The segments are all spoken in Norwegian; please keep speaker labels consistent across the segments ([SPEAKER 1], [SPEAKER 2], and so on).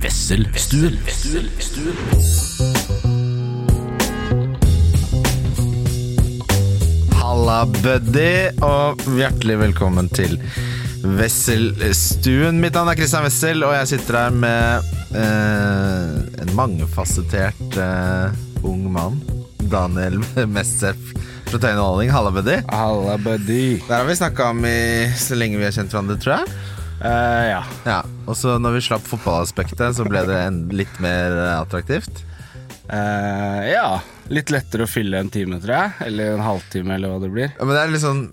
[SPEAKER 1] Wesselstuen.
[SPEAKER 2] Halla, buddy, og hjertelig velkommen til Wesselstuen. Mitt navn er Christian Wessel, og jeg sitter her med eh, en mangefasettert eh, ung mann. Daniel Messef fra Tøyen og Alling. Halla, buddy.
[SPEAKER 3] Halla, buddy.
[SPEAKER 2] Der har vi snakka om i, så lenge vi har kjent hverandre, tror jeg.
[SPEAKER 3] Eh, ja.
[SPEAKER 2] Ja, Og så når vi slapp fotballaspektet, så ble det en, litt mer eh, attraktivt.
[SPEAKER 3] Eh, ja. Litt lettere å fylle en time, tror jeg. Eller en halvtime, eller hva det blir.
[SPEAKER 2] Ja, men det er litt sånn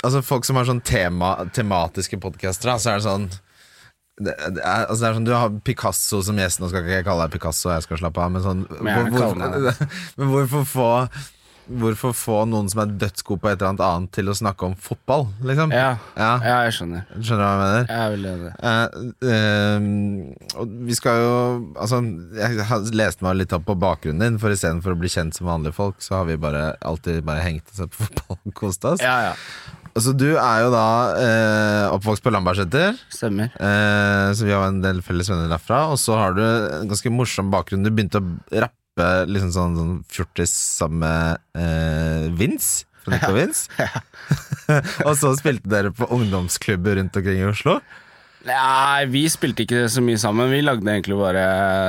[SPEAKER 2] Altså Folk som har sånn tema, tematiske podkaster, så er det sånn det, det, er, altså det er sånn Du har Picasso som gjest, nå skal ikke jeg kalle deg Picasso, jeg skal slappe av, men sånn
[SPEAKER 3] Men jeg
[SPEAKER 2] hvor-
[SPEAKER 3] kaller
[SPEAKER 2] hvor- Men hvorfor få Hvorfor få noen som er dødsgod på et eller annet annet, til å snakke om fotball, liksom?
[SPEAKER 3] Ja, ja.
[SPEAKER 2] Ja.
[SPEAKER 3] jeg skjønner.
[SPEAKER 2] Skjønner du hva jeg mener?
[SPEAKER 3] Jeg er veldig enig.
[SPEAKER 2] Eh, eh, og vi skal jo Altså, jeg har lest meg litt opp på bakgrunnen din, for istedenfor å bli kjent som vanlige folk, så har vi bare alltid bare hengt oss opp på fotball og kost oss.
[SPEAKER 3] Ja, ja.
[SPEAKER 2] Så Altså, du er jo da eh, oppvokst på Lambertseter,
[SPEAKER 3] Stemmer.
[SPEAKER 2] eh, så vi har en del felles venner derfra. Og så har du en ganske morsom bakgrunn. Du begynte å rappe liksom sånn, sånn fjortis sammen med eh, Vince. Fra Nico Vince. og så spilte dere på ungdomsklubber rundt omkring i Oslo.
[SPEAKER 3] Nei, vi spilte ikke så mye sammen. Vi lagde egentlig bare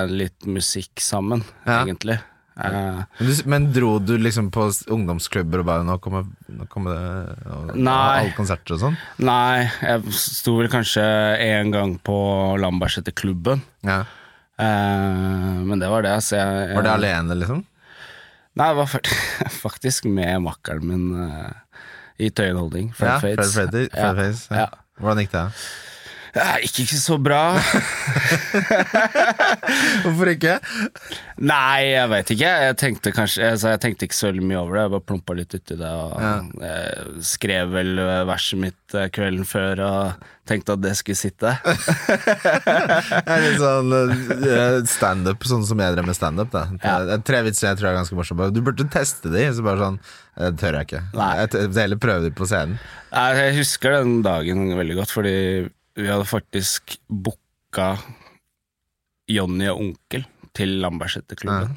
[SPEAKER 3] litt musikk sammen,
[SPEAKER 2] Ja.
[SPEAKER 3] egentlig. Eh,
[SPEAKER 2] Men, du, men dro du liksom på s- ungdomsklubber og bare 'nå kommer, nå kommer det og,
[SPEAKER 3] Nei.
[SPEAKER 2] Alle konserter og sånn?
[SPEAKER 3] nei, jeg sto vel kanskje én gang på Lambertseter-klubben.
[SPEAKER 2] Ja.
[SPEAKER 3] Eh, men det var det. Så jeg, jeg,
[SPEAKER 2] Var det alene, liksom?
[SPEAKER 3] Nei, det var fakt- faktisk med makkeren min eh, i Tøyen Holding. Fred
[SPEAKER 2] ja,
[SPEAKER 3] Fates.
[SPEAKER 2] Fred Freddy, Fred Face, ja.
[SPEAKER 3] Ja.
[SPEAKER 2] Hvordan gikk det?
[SPEAKER 3] Ja, ikke så bra.
[SPEAKER 2] Hvorfor ikke?
[SPEAKER 3] Nei, jeg veit ikke. Jeg tenkte, kanskje, altså, jeg tenkte ikke så veldig mye over det. Jeg bare plumpa litt uti det og eh, skrev vel eh, verset mitt eh, kvelden før og tenkte at det skulle sitte.
[SPEAKER 2] Det er litt sånn eh, standup, sånn som jeg drev med standup. da. Det er Tre vitser jeg tror er ganske morsomme. Du burde teste de, så bare sånn Det tør jeg ikke.
[SPEAKER 3] Nei.
[SPEAKER 2] Jeg t- heller prøve de på scenen.
[SPEAKER 3] Nei, Jeg husker den dagen veldig godt, fordi vi hadde faktisk booka Jonny og onkel til Lambertseterklubben.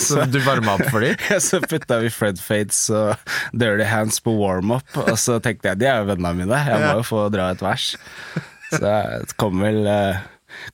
[SPEAKER 2] Så du varma opp for de?
[SPEAKER 3] Så putta vi Fred Fates og Dirty Hands på warm-up, og så tenkte jeg de er jo vennene mine, jeg må jo få dra et vers. Så jeg kom vel, eh,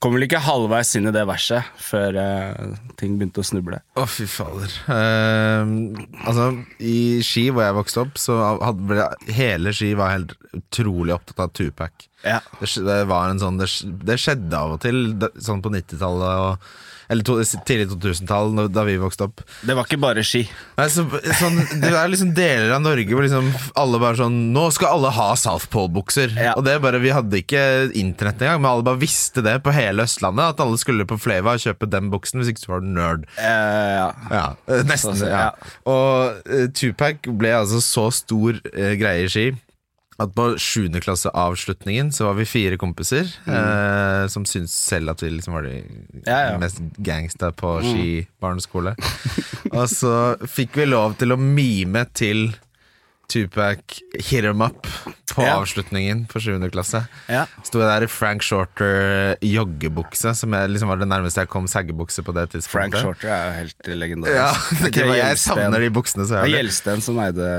[SPEAKER 3] kom vel ikke halvveis inn i det verset før eh, ting begynte å snuble.
[SPEAKER 2] Å, fy fader. Eh, altså, I Ski, hvor jeg vokste opp, så hadde ble, hele Ski var helt utrolig opptatt av Tupac.
[SPEAKER 3] Ja.
[SPEAKER 2] Det, sk- det var en sånn Det, sk- det skjedde av og til, da- sånn på 90-tallet og Eller to, tidlig 2000-tall, når- da vi vokste opp.
[SPEAKER 3] Det var ikke bare ski.
[SPEAKER 2] Nei, så, sånn, det er liksom deler av Norge hvor liksom alle bare sånn Nå skal alle ha South Pole-bukser.
[SPEAKER 3] Ja.
[SPEAKER 2] Og det er bare, Vi hadde ikke internett engang, men alle bare visste det på hele Østlandet. At alle skulle på Fleva og kjøpe den buksen, hvis ikke så var du nerd.
[SPEAKER 3] Eh, ja.
[SPEAKER 2] Ja, eh, nesten.
[SPEAKER 3] Så-
[SPEAKER 2] ja.
[SPEAKER 3] ja.
[SPEAKER 2] Og eh, Tupac ble altså så stor eh, greie i ski at på 7. klasseavslutningen så var vi fire kompiser eh, som syntes selv at vi liksom var de
[SPEAKER 3] Mm. Ja, Mm. ja.
[SPEAKER 2] mest gangsta på ski barneskole. Og så fikk vi lov til å mime til Tupac Hit 'em up på
[SPEAKER 3] Ja.
[SPEAKER 2] avslutningen på 7. klasse.
[SPEAKER 3] Ja.
[SPEAKER 2] Sto jeg der i Frank Shorter joggebukse, som jeg liksom var det nærmeste jeg kom saggebukse på det tidspunktet.
[SPEAKER 3] Frank Shorter er jo helt legendarisk.
[SPEAKER 2] Ja,
[SPEAKER 3] Det
[SPEAKER 2] det var,
[SPEAKER 3] var
[SPEAKER 2] jeg
[SPEAKER 3] Gjelsten.
[SPEAKER 2] savner de buksene så
[SPEAKER 3] Det var
[SPEAKER 2] jævlig.
[SPEAKER 3] Gjelsten som eide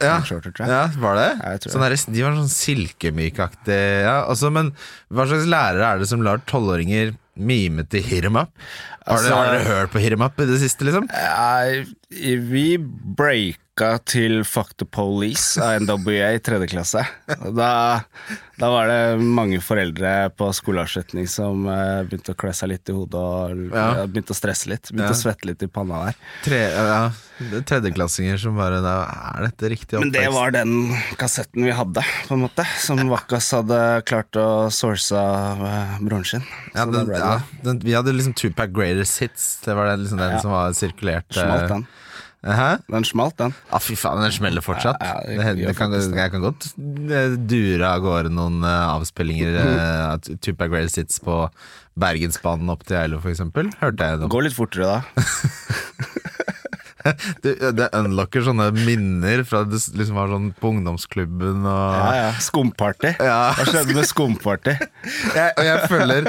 [SPEAKER 2] Ja.
[SPEAKER 3] Frank Shorter, tror jeg.
[SPEAKER 2] Ja, var det?
[SPEAKER 3] Ja, jeg tror
[SPEAKER 2] sånn der, de var sånn silkemykaktig ja, altså, Men hva slags lærere er det som lar tolvåringer mime til Hit 'em up? Har,
[SPEAKER 3] Altså-
[SPEAKER 2] dere, har dere hørt på Hit 'em up i det siste, liksom?
[SPEAKER 3] Nei, vi breaka til Fuck the Police av NWA i tredje klasse. Da, da var det mange foreldre på skoleavslutning som eh, begynte å klø seg litt i hodet og
[SPEAKER 2] Ja.
[SPEAKER 3] eh, begynte å stresse litt. Begynte
[SPEAKER 2] Ja.
[SPEAKER 3] å svette litt i panna der.
[SPEAKER 2] Tre, ja, det er tredjeklassinger som bare da, Er dette riktig
[SPEAKER 3] Men
[SPEAKER 2] oppvekst?
[SPEAKER 3] det var den kassetten vi hadde, på en måte. Som Wakkas hadde klart å source av eh, broren sin.
[SPEAKER 2] ja,
[SPEAKER 3] Så da
[SPEAKER 2] den,
[SPEAKER 3] ble det
[SPEAKER 2] ja, den, Vi hadde liksom Tupac Greatest Hits. Det var den, liksom den som var sirkulert.
[SPEAKER 3] Smalt, den.
[SPEAKER 2] eh, Hæ?
[SPEAKER 3] Den smalt, den.
[SPEAKER 2] Ah, fy faen, den smeller fortsatt.
[SPEAKER 3] Ja, ja,
[SPEAKER 2] det,
[SPEAKER 3] det
[SPEAKER 2] hender-
[SPEAKER 3] gjør
[SPEAKER 2] det kan,
[SPEAKER 3] faktisk det.
[SPEAKER 2] jeg kan godt eh, dure av gårde noen eh, avspillinger
[SPEAKER 3] Mm.
[SPEAKER 2] eh, av T- Tupac Greatest Hits på Bergensbanen opp til Geilo, for eksempel. Hørte jeg noe.
[SPEAKER 3] Gå litt fortere, da.
[SPEAKER 2] du, det unlocker sånne minner fra du s- liksom var sånn på ungdomsklubben og
[SPEAKER 3] Ja, ja. Skumparty.
[SPEAKER 2] Ja.
[SPEAKER 3] Hva skjedde med skumparty?
[SPEAKER 2] jeg, og jeg følger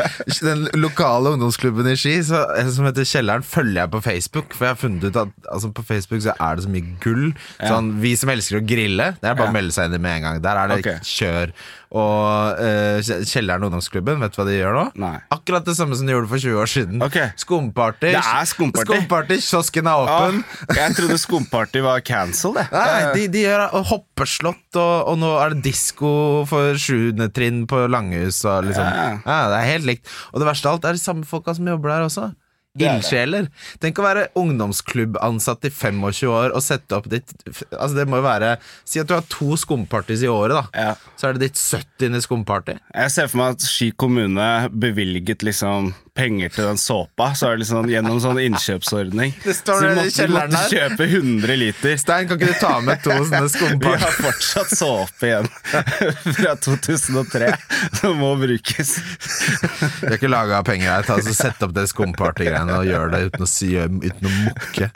[SPEAKER 2] den lokale ungdomsklubben i Ski, så, eh, som heter Kjelleren, følger jeg på Facebook. For jeg har funnet ut at altså, på Facebook så er det så mye gull. Sånn, vi som elsker å grille, det er bare å melde seg inn i med en gang. Der er det
[SPEAKER 3] Ok.
[SPEAKER 2] kjør. Og eh, Kjelleren ungdomsklubben, vet du hva de gjør nå?
[SPEAKER 3] Nei.
[SPEAKER 2] Akkurat det samme som de gjorde for 20 år siden.
[SPEAKER 3] Ok.
[SPEAKER 2] Skumparty.
[SPEAKER 3] Det er skumparty. Ah.
[SPEAKER 2] Skumparty, kiosken er
[SPEAKER 3] Ja,
[SPEAKER 2] åpen.
[SPEAKER 3] jeg trodde skumparty var cancelled, jeg.
[SPEAKER 2] Nei, de, de gjør og hoppeslott, og, og nå er det disko for sjuende trinn på Langhus. Og liksom. ja.
[SPEAKER 3] Ja.
[SPEAKER 2] det er helt likt. Og det verste av alt er de samme folka som jobber der også.
[SPEAKER 3] er det.
[SPEAKER 2] Ildsjeler. Tenk å være ungdomsklubbansatt i 25 år og sette opp ditt Altså Det må jo være Si at du har to skumpartys i året, da.
[SPEAKER 3] Ja.
[SPEAKER 2] Så er det ditt 70. skumparty.
[SPEAKER 3] Jeg ser for meg at Ski kommune bevilget liksom penger til den såpa. Så er det liksom gjennom sånn innkjøpsordning.
[SPEAKER 2] Det står
[SPEAKER 3] så
[SPEAKER 2] det i
[SPEAKER 3] måtte, du måtte
[SPEAKER 2] kjelleren her.
[SPEAKER 3] kjøpe 100 liter.
[SPEAKER 2] Stein, kan ikke du ta med to sånne
[SPEAKER 3] Vi har
[SPEAKER 2] skumparty?
[SPEAKER 3] fortsatt såpe igjen fra 2003, som må brukes.
[SPEAKER 2] Vi har ikke laga penger her. Ta, altså, sett opp det skumparty-greiene og gjør det uten å, si, uten å mukke.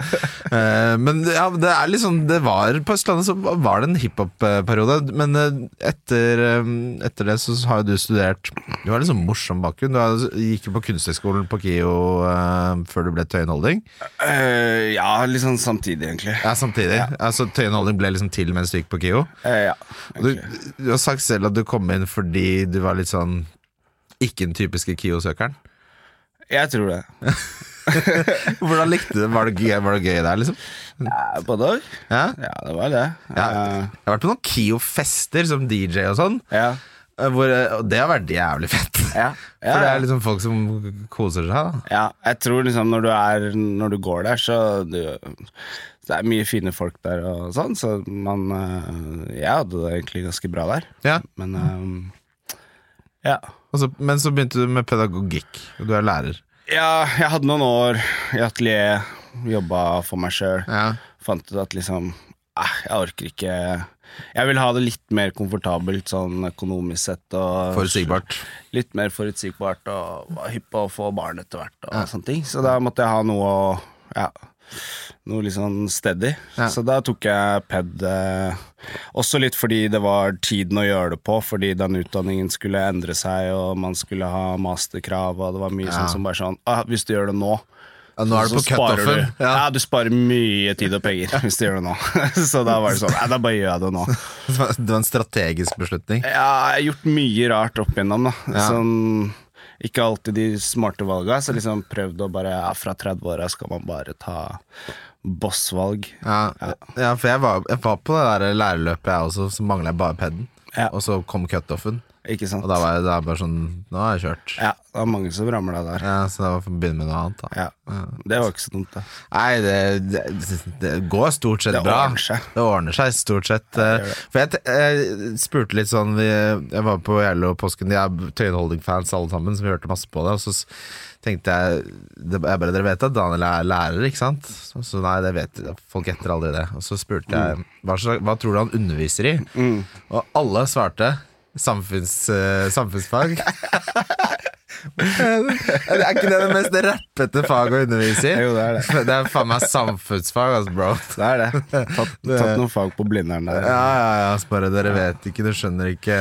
[SPEAKER 2] Eh, men ja, det er liksom Det var på Østlandet så var det en hiphop-periode. Men eh, etter, eh, etter det så har jo du studert Du har liksom morsom bakgrunn. Du har, gikk jo på Kunsthøgskolen på KIO eh, før du ble Tøyen Holding.
[SPEAKER 3] Eh, ja, litt sånn samtidig, egentlig.
[SPEAKER 2] Ja, samtidig. Altså, Tøyen Holding ble liksom til mens du gikk på KIO.
[SPEAKER 3] Eh, ja.
[SPEAKER 2] Og Du, du har sagt selv at du kom inn fordi du var litt sånn ikke den typiske KIO-søkeren.
[SPEAKER 3] Jeg tror det.
[SPEAKER 2] Hvordan likte du det? Var det gøy, var det gøy der, liksom?
[SPEAKER 3] Eh, Både òg.
[SPEAKER 2] Ja?
[SPEAKER 3] Ja, det var det.
[SPEAKER 2] Ja.
[SPEAKER 3] Eh,
[SPEAKER 2] Jeg har vært på noen KIO-fester som DJ og sånn,
[SPEAKER 3] ja.
[SPEAKER 2] eh, hvor, eh, og det har vært jævlig fett.
[SPEAKER 3] Ja. Ja,
[SPEAKER 2] For det
[SPEAKER 3] ja.
[SPEAKER 2] er liksom folk som koser seg, da.
[SPEAKER 3] Ja, jeg tror liksom når du, er, når du går der, så du, Det er mye fine folk der og sånn, så man eh, Jeg hadde det egentlig ganske bra der,
[SPEAKER 2] Ja,
[SPEAKER 3] men eh, ja.
[SPEAKER 2] og så, Men så begynte du med pedagogikk, og du er lærer.
[SPEAKER 3] ja. Jeg hadde noen år i atelier, jobba for meg sjøl.
[SPEAKER 2] Ja.
[SPEAKER 3] Fant ut at liksom eh, Jeg orker ikke Jeg vil ha det litt mer komfortabelt sånn økonomisk sett. Og
[SPEAKER 2] Forutsigbart.
[SPEAKER 3] litt mer forutsigbart og var hypp på å få barn etter hvert. Og sånne ting Så da måtte jeg ha noe å ja, Noe litt sånn steady.
[SPEAKER 2] Ja.
[SPEAKER 3] Så da tok jeg ped. eh, Også litt fordi det var tiden å gjøre det på, fordi den utdanningen skulle endre seg, og man skulle ha masterkrav, og det var mye sånn som bare sånn ah, Hvis du gjør det nå
[SPEAKER 2] Ja, nå er
[SPEAKER 3] så
[SPEAKER 2] du på
[SPEAKER 3] sparer
[SPEAKER 2] cutoffen.
[SPEAKER 3] du. Ja. du sparer mye tid og penger hvis du gjør det nå. Så da var det sånn, nei, da bare gjør jeg det nå.
[SPEAKER 2] Det var det var en strategisk beslutning.
[SPEAKER 3] Ja, jeg har gjort mye rart opp igjennom, da. Sånn, ikke alltid de smarte valga, så liksom prøvd å bare ja, Fra 30-åra skal man bare ta bossvalg.
[SPEAKER 2] Ja, ja for jeg var, jeg var på det der lærerløpet, jeg også, så mangla jeg bare peden.
[SPEAKER 3] Ja.
[SPEAKER 2] Og så kom cutoffen,
[SPEAKER 3] Ikke sant?
[SPEAKER 2] og da var jeg da er jeg bare sånn Nå har jeg kjørt.
[SPEAKER 3] Ja, det var mange som ramla der.
[SPEAKER 2] Ja, så da får vi begynne med noe annet, da.
[SPEAKER 3] Ja. Det var ikke så dumt, da.
[SPEAKER 2] Nei, det, det, det går stort sett
[SPEAKER 3] Det
[SPEAKER 2] bra.
[SPEAKER 3] ordner seg.
[SPEAKER 2] Det ordner seg stort sett. eh, For jeg, te- jeg spurte litt sånn vi, Jeg var på Gjerlo påsken, de er Tøyen Holding-fans alle sammen, så vi hørte masse på det. Og så s- tenkte jeg det, Jeg bare Dere vet at Daniel er lærer, ikke sant? Så, så nei, det vet folk etter aldri det. Og så spurte jeg
[SPEAKER 3] Mm.
[SPEAKER 2] hva, slags, hva tror du han underviser i? Og alle svarte samfunns, eh, samfunnsfag. Er ikke det det mest rappete faget å undervise i?
[SPEAKER 3] Jo, det er det.
[SPEAKER 2] Det er faen meg samfunnsfag, altså, bro.
[SPEAKER 3] Det er det. Tatt, tatt noen fag på Blindern
[SPEAKER 2] Ja,
[SPEAKER 3] der.
[SPEAKER 2] ja, ja. altså, Bare dere vet ikke, dere skjønner ikke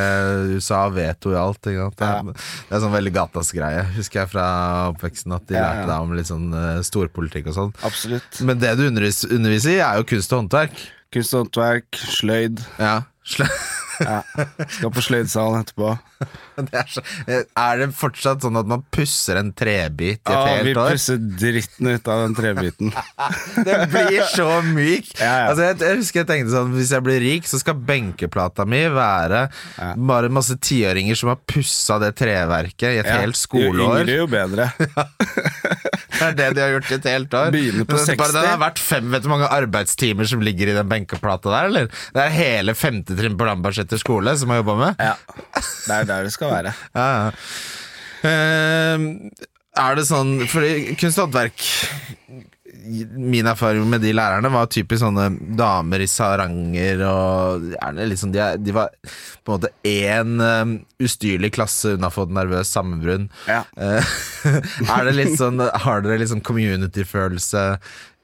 [SPEAKER 2] USA veto i alt. Ikke sant? Det,
[SPEAKER 3] Ja.
[SPEAKER 2] er, det er sånn veldig gatas greie, husker jeg fra oppveksten. At de
[SPEAKER 3] Ja, ja.
[SPEAKER 2] lærte deg om litt sånn eh, storpolitikk og sånn.
[SPEAKER 3] Absolutt.
[SPEAKER 2] Men det du undervis, underviser i, er jo kunst og håndverk.
[SPEAKER 3] Kunst og håndverk, sløyd.
[SPEAKER 2] Ja. Sl-
[SPEAKER 3] Ja. Skal på sløydsalen etterpå.
[SPEAKER 2] Det er, så, er det fortsatt sånn at man pusser en trebit i et
[SPEAKER 3] Å, vi
[SPEAKER 2] helt år?
[SPEAKER 3] pusser dritten ut av den trebiten.
[SPEAKER 2] Den blir så myk.
[SPEAKER 3] Ja, ja.
[SPEAKER 2] Altså, jeg, jeg husker jeg tenkte sånn Hvis jeg blir rik, så skal benkeplata mi være bare masse tiåringer som har pussa det treverket i et helt
[SPEAKER 3] Jo
[SPEAKER 2] skoleår.
[SPEAKER 3] yngre, jo bedre.
[SPEAKER 2] Det er det de har gjort i et helt år.
[SPEAKER 3] Begynner på
[SPEAKER 2] Men det er
[SPEAKER 3] 60.
[SPEAKER 2] Bare det har vært fem, Vet du hvor mange arbeidstimer som ligger i den benkeplata der, eller? Det er hele femte trinn på Lambertseter skole som har jobba med.
[SPEAKER 3] Ja. Det er der det skal være.
[SPEAKER 2] Ja, ja. Ehm, er det sånn Fordi kunst og håndverk Min erfaring med de lærerne var typisk sånne damer i saranger og gjerne liksom De, er, de var på en måte én ehm, ustyrlig klasse unna å få et nervøst sammenbrudd.
[SPEAKER 3] Ja.
[SPEAKER 2] Eh, er det litt sånn Har dere litt sånn liksom community-følelse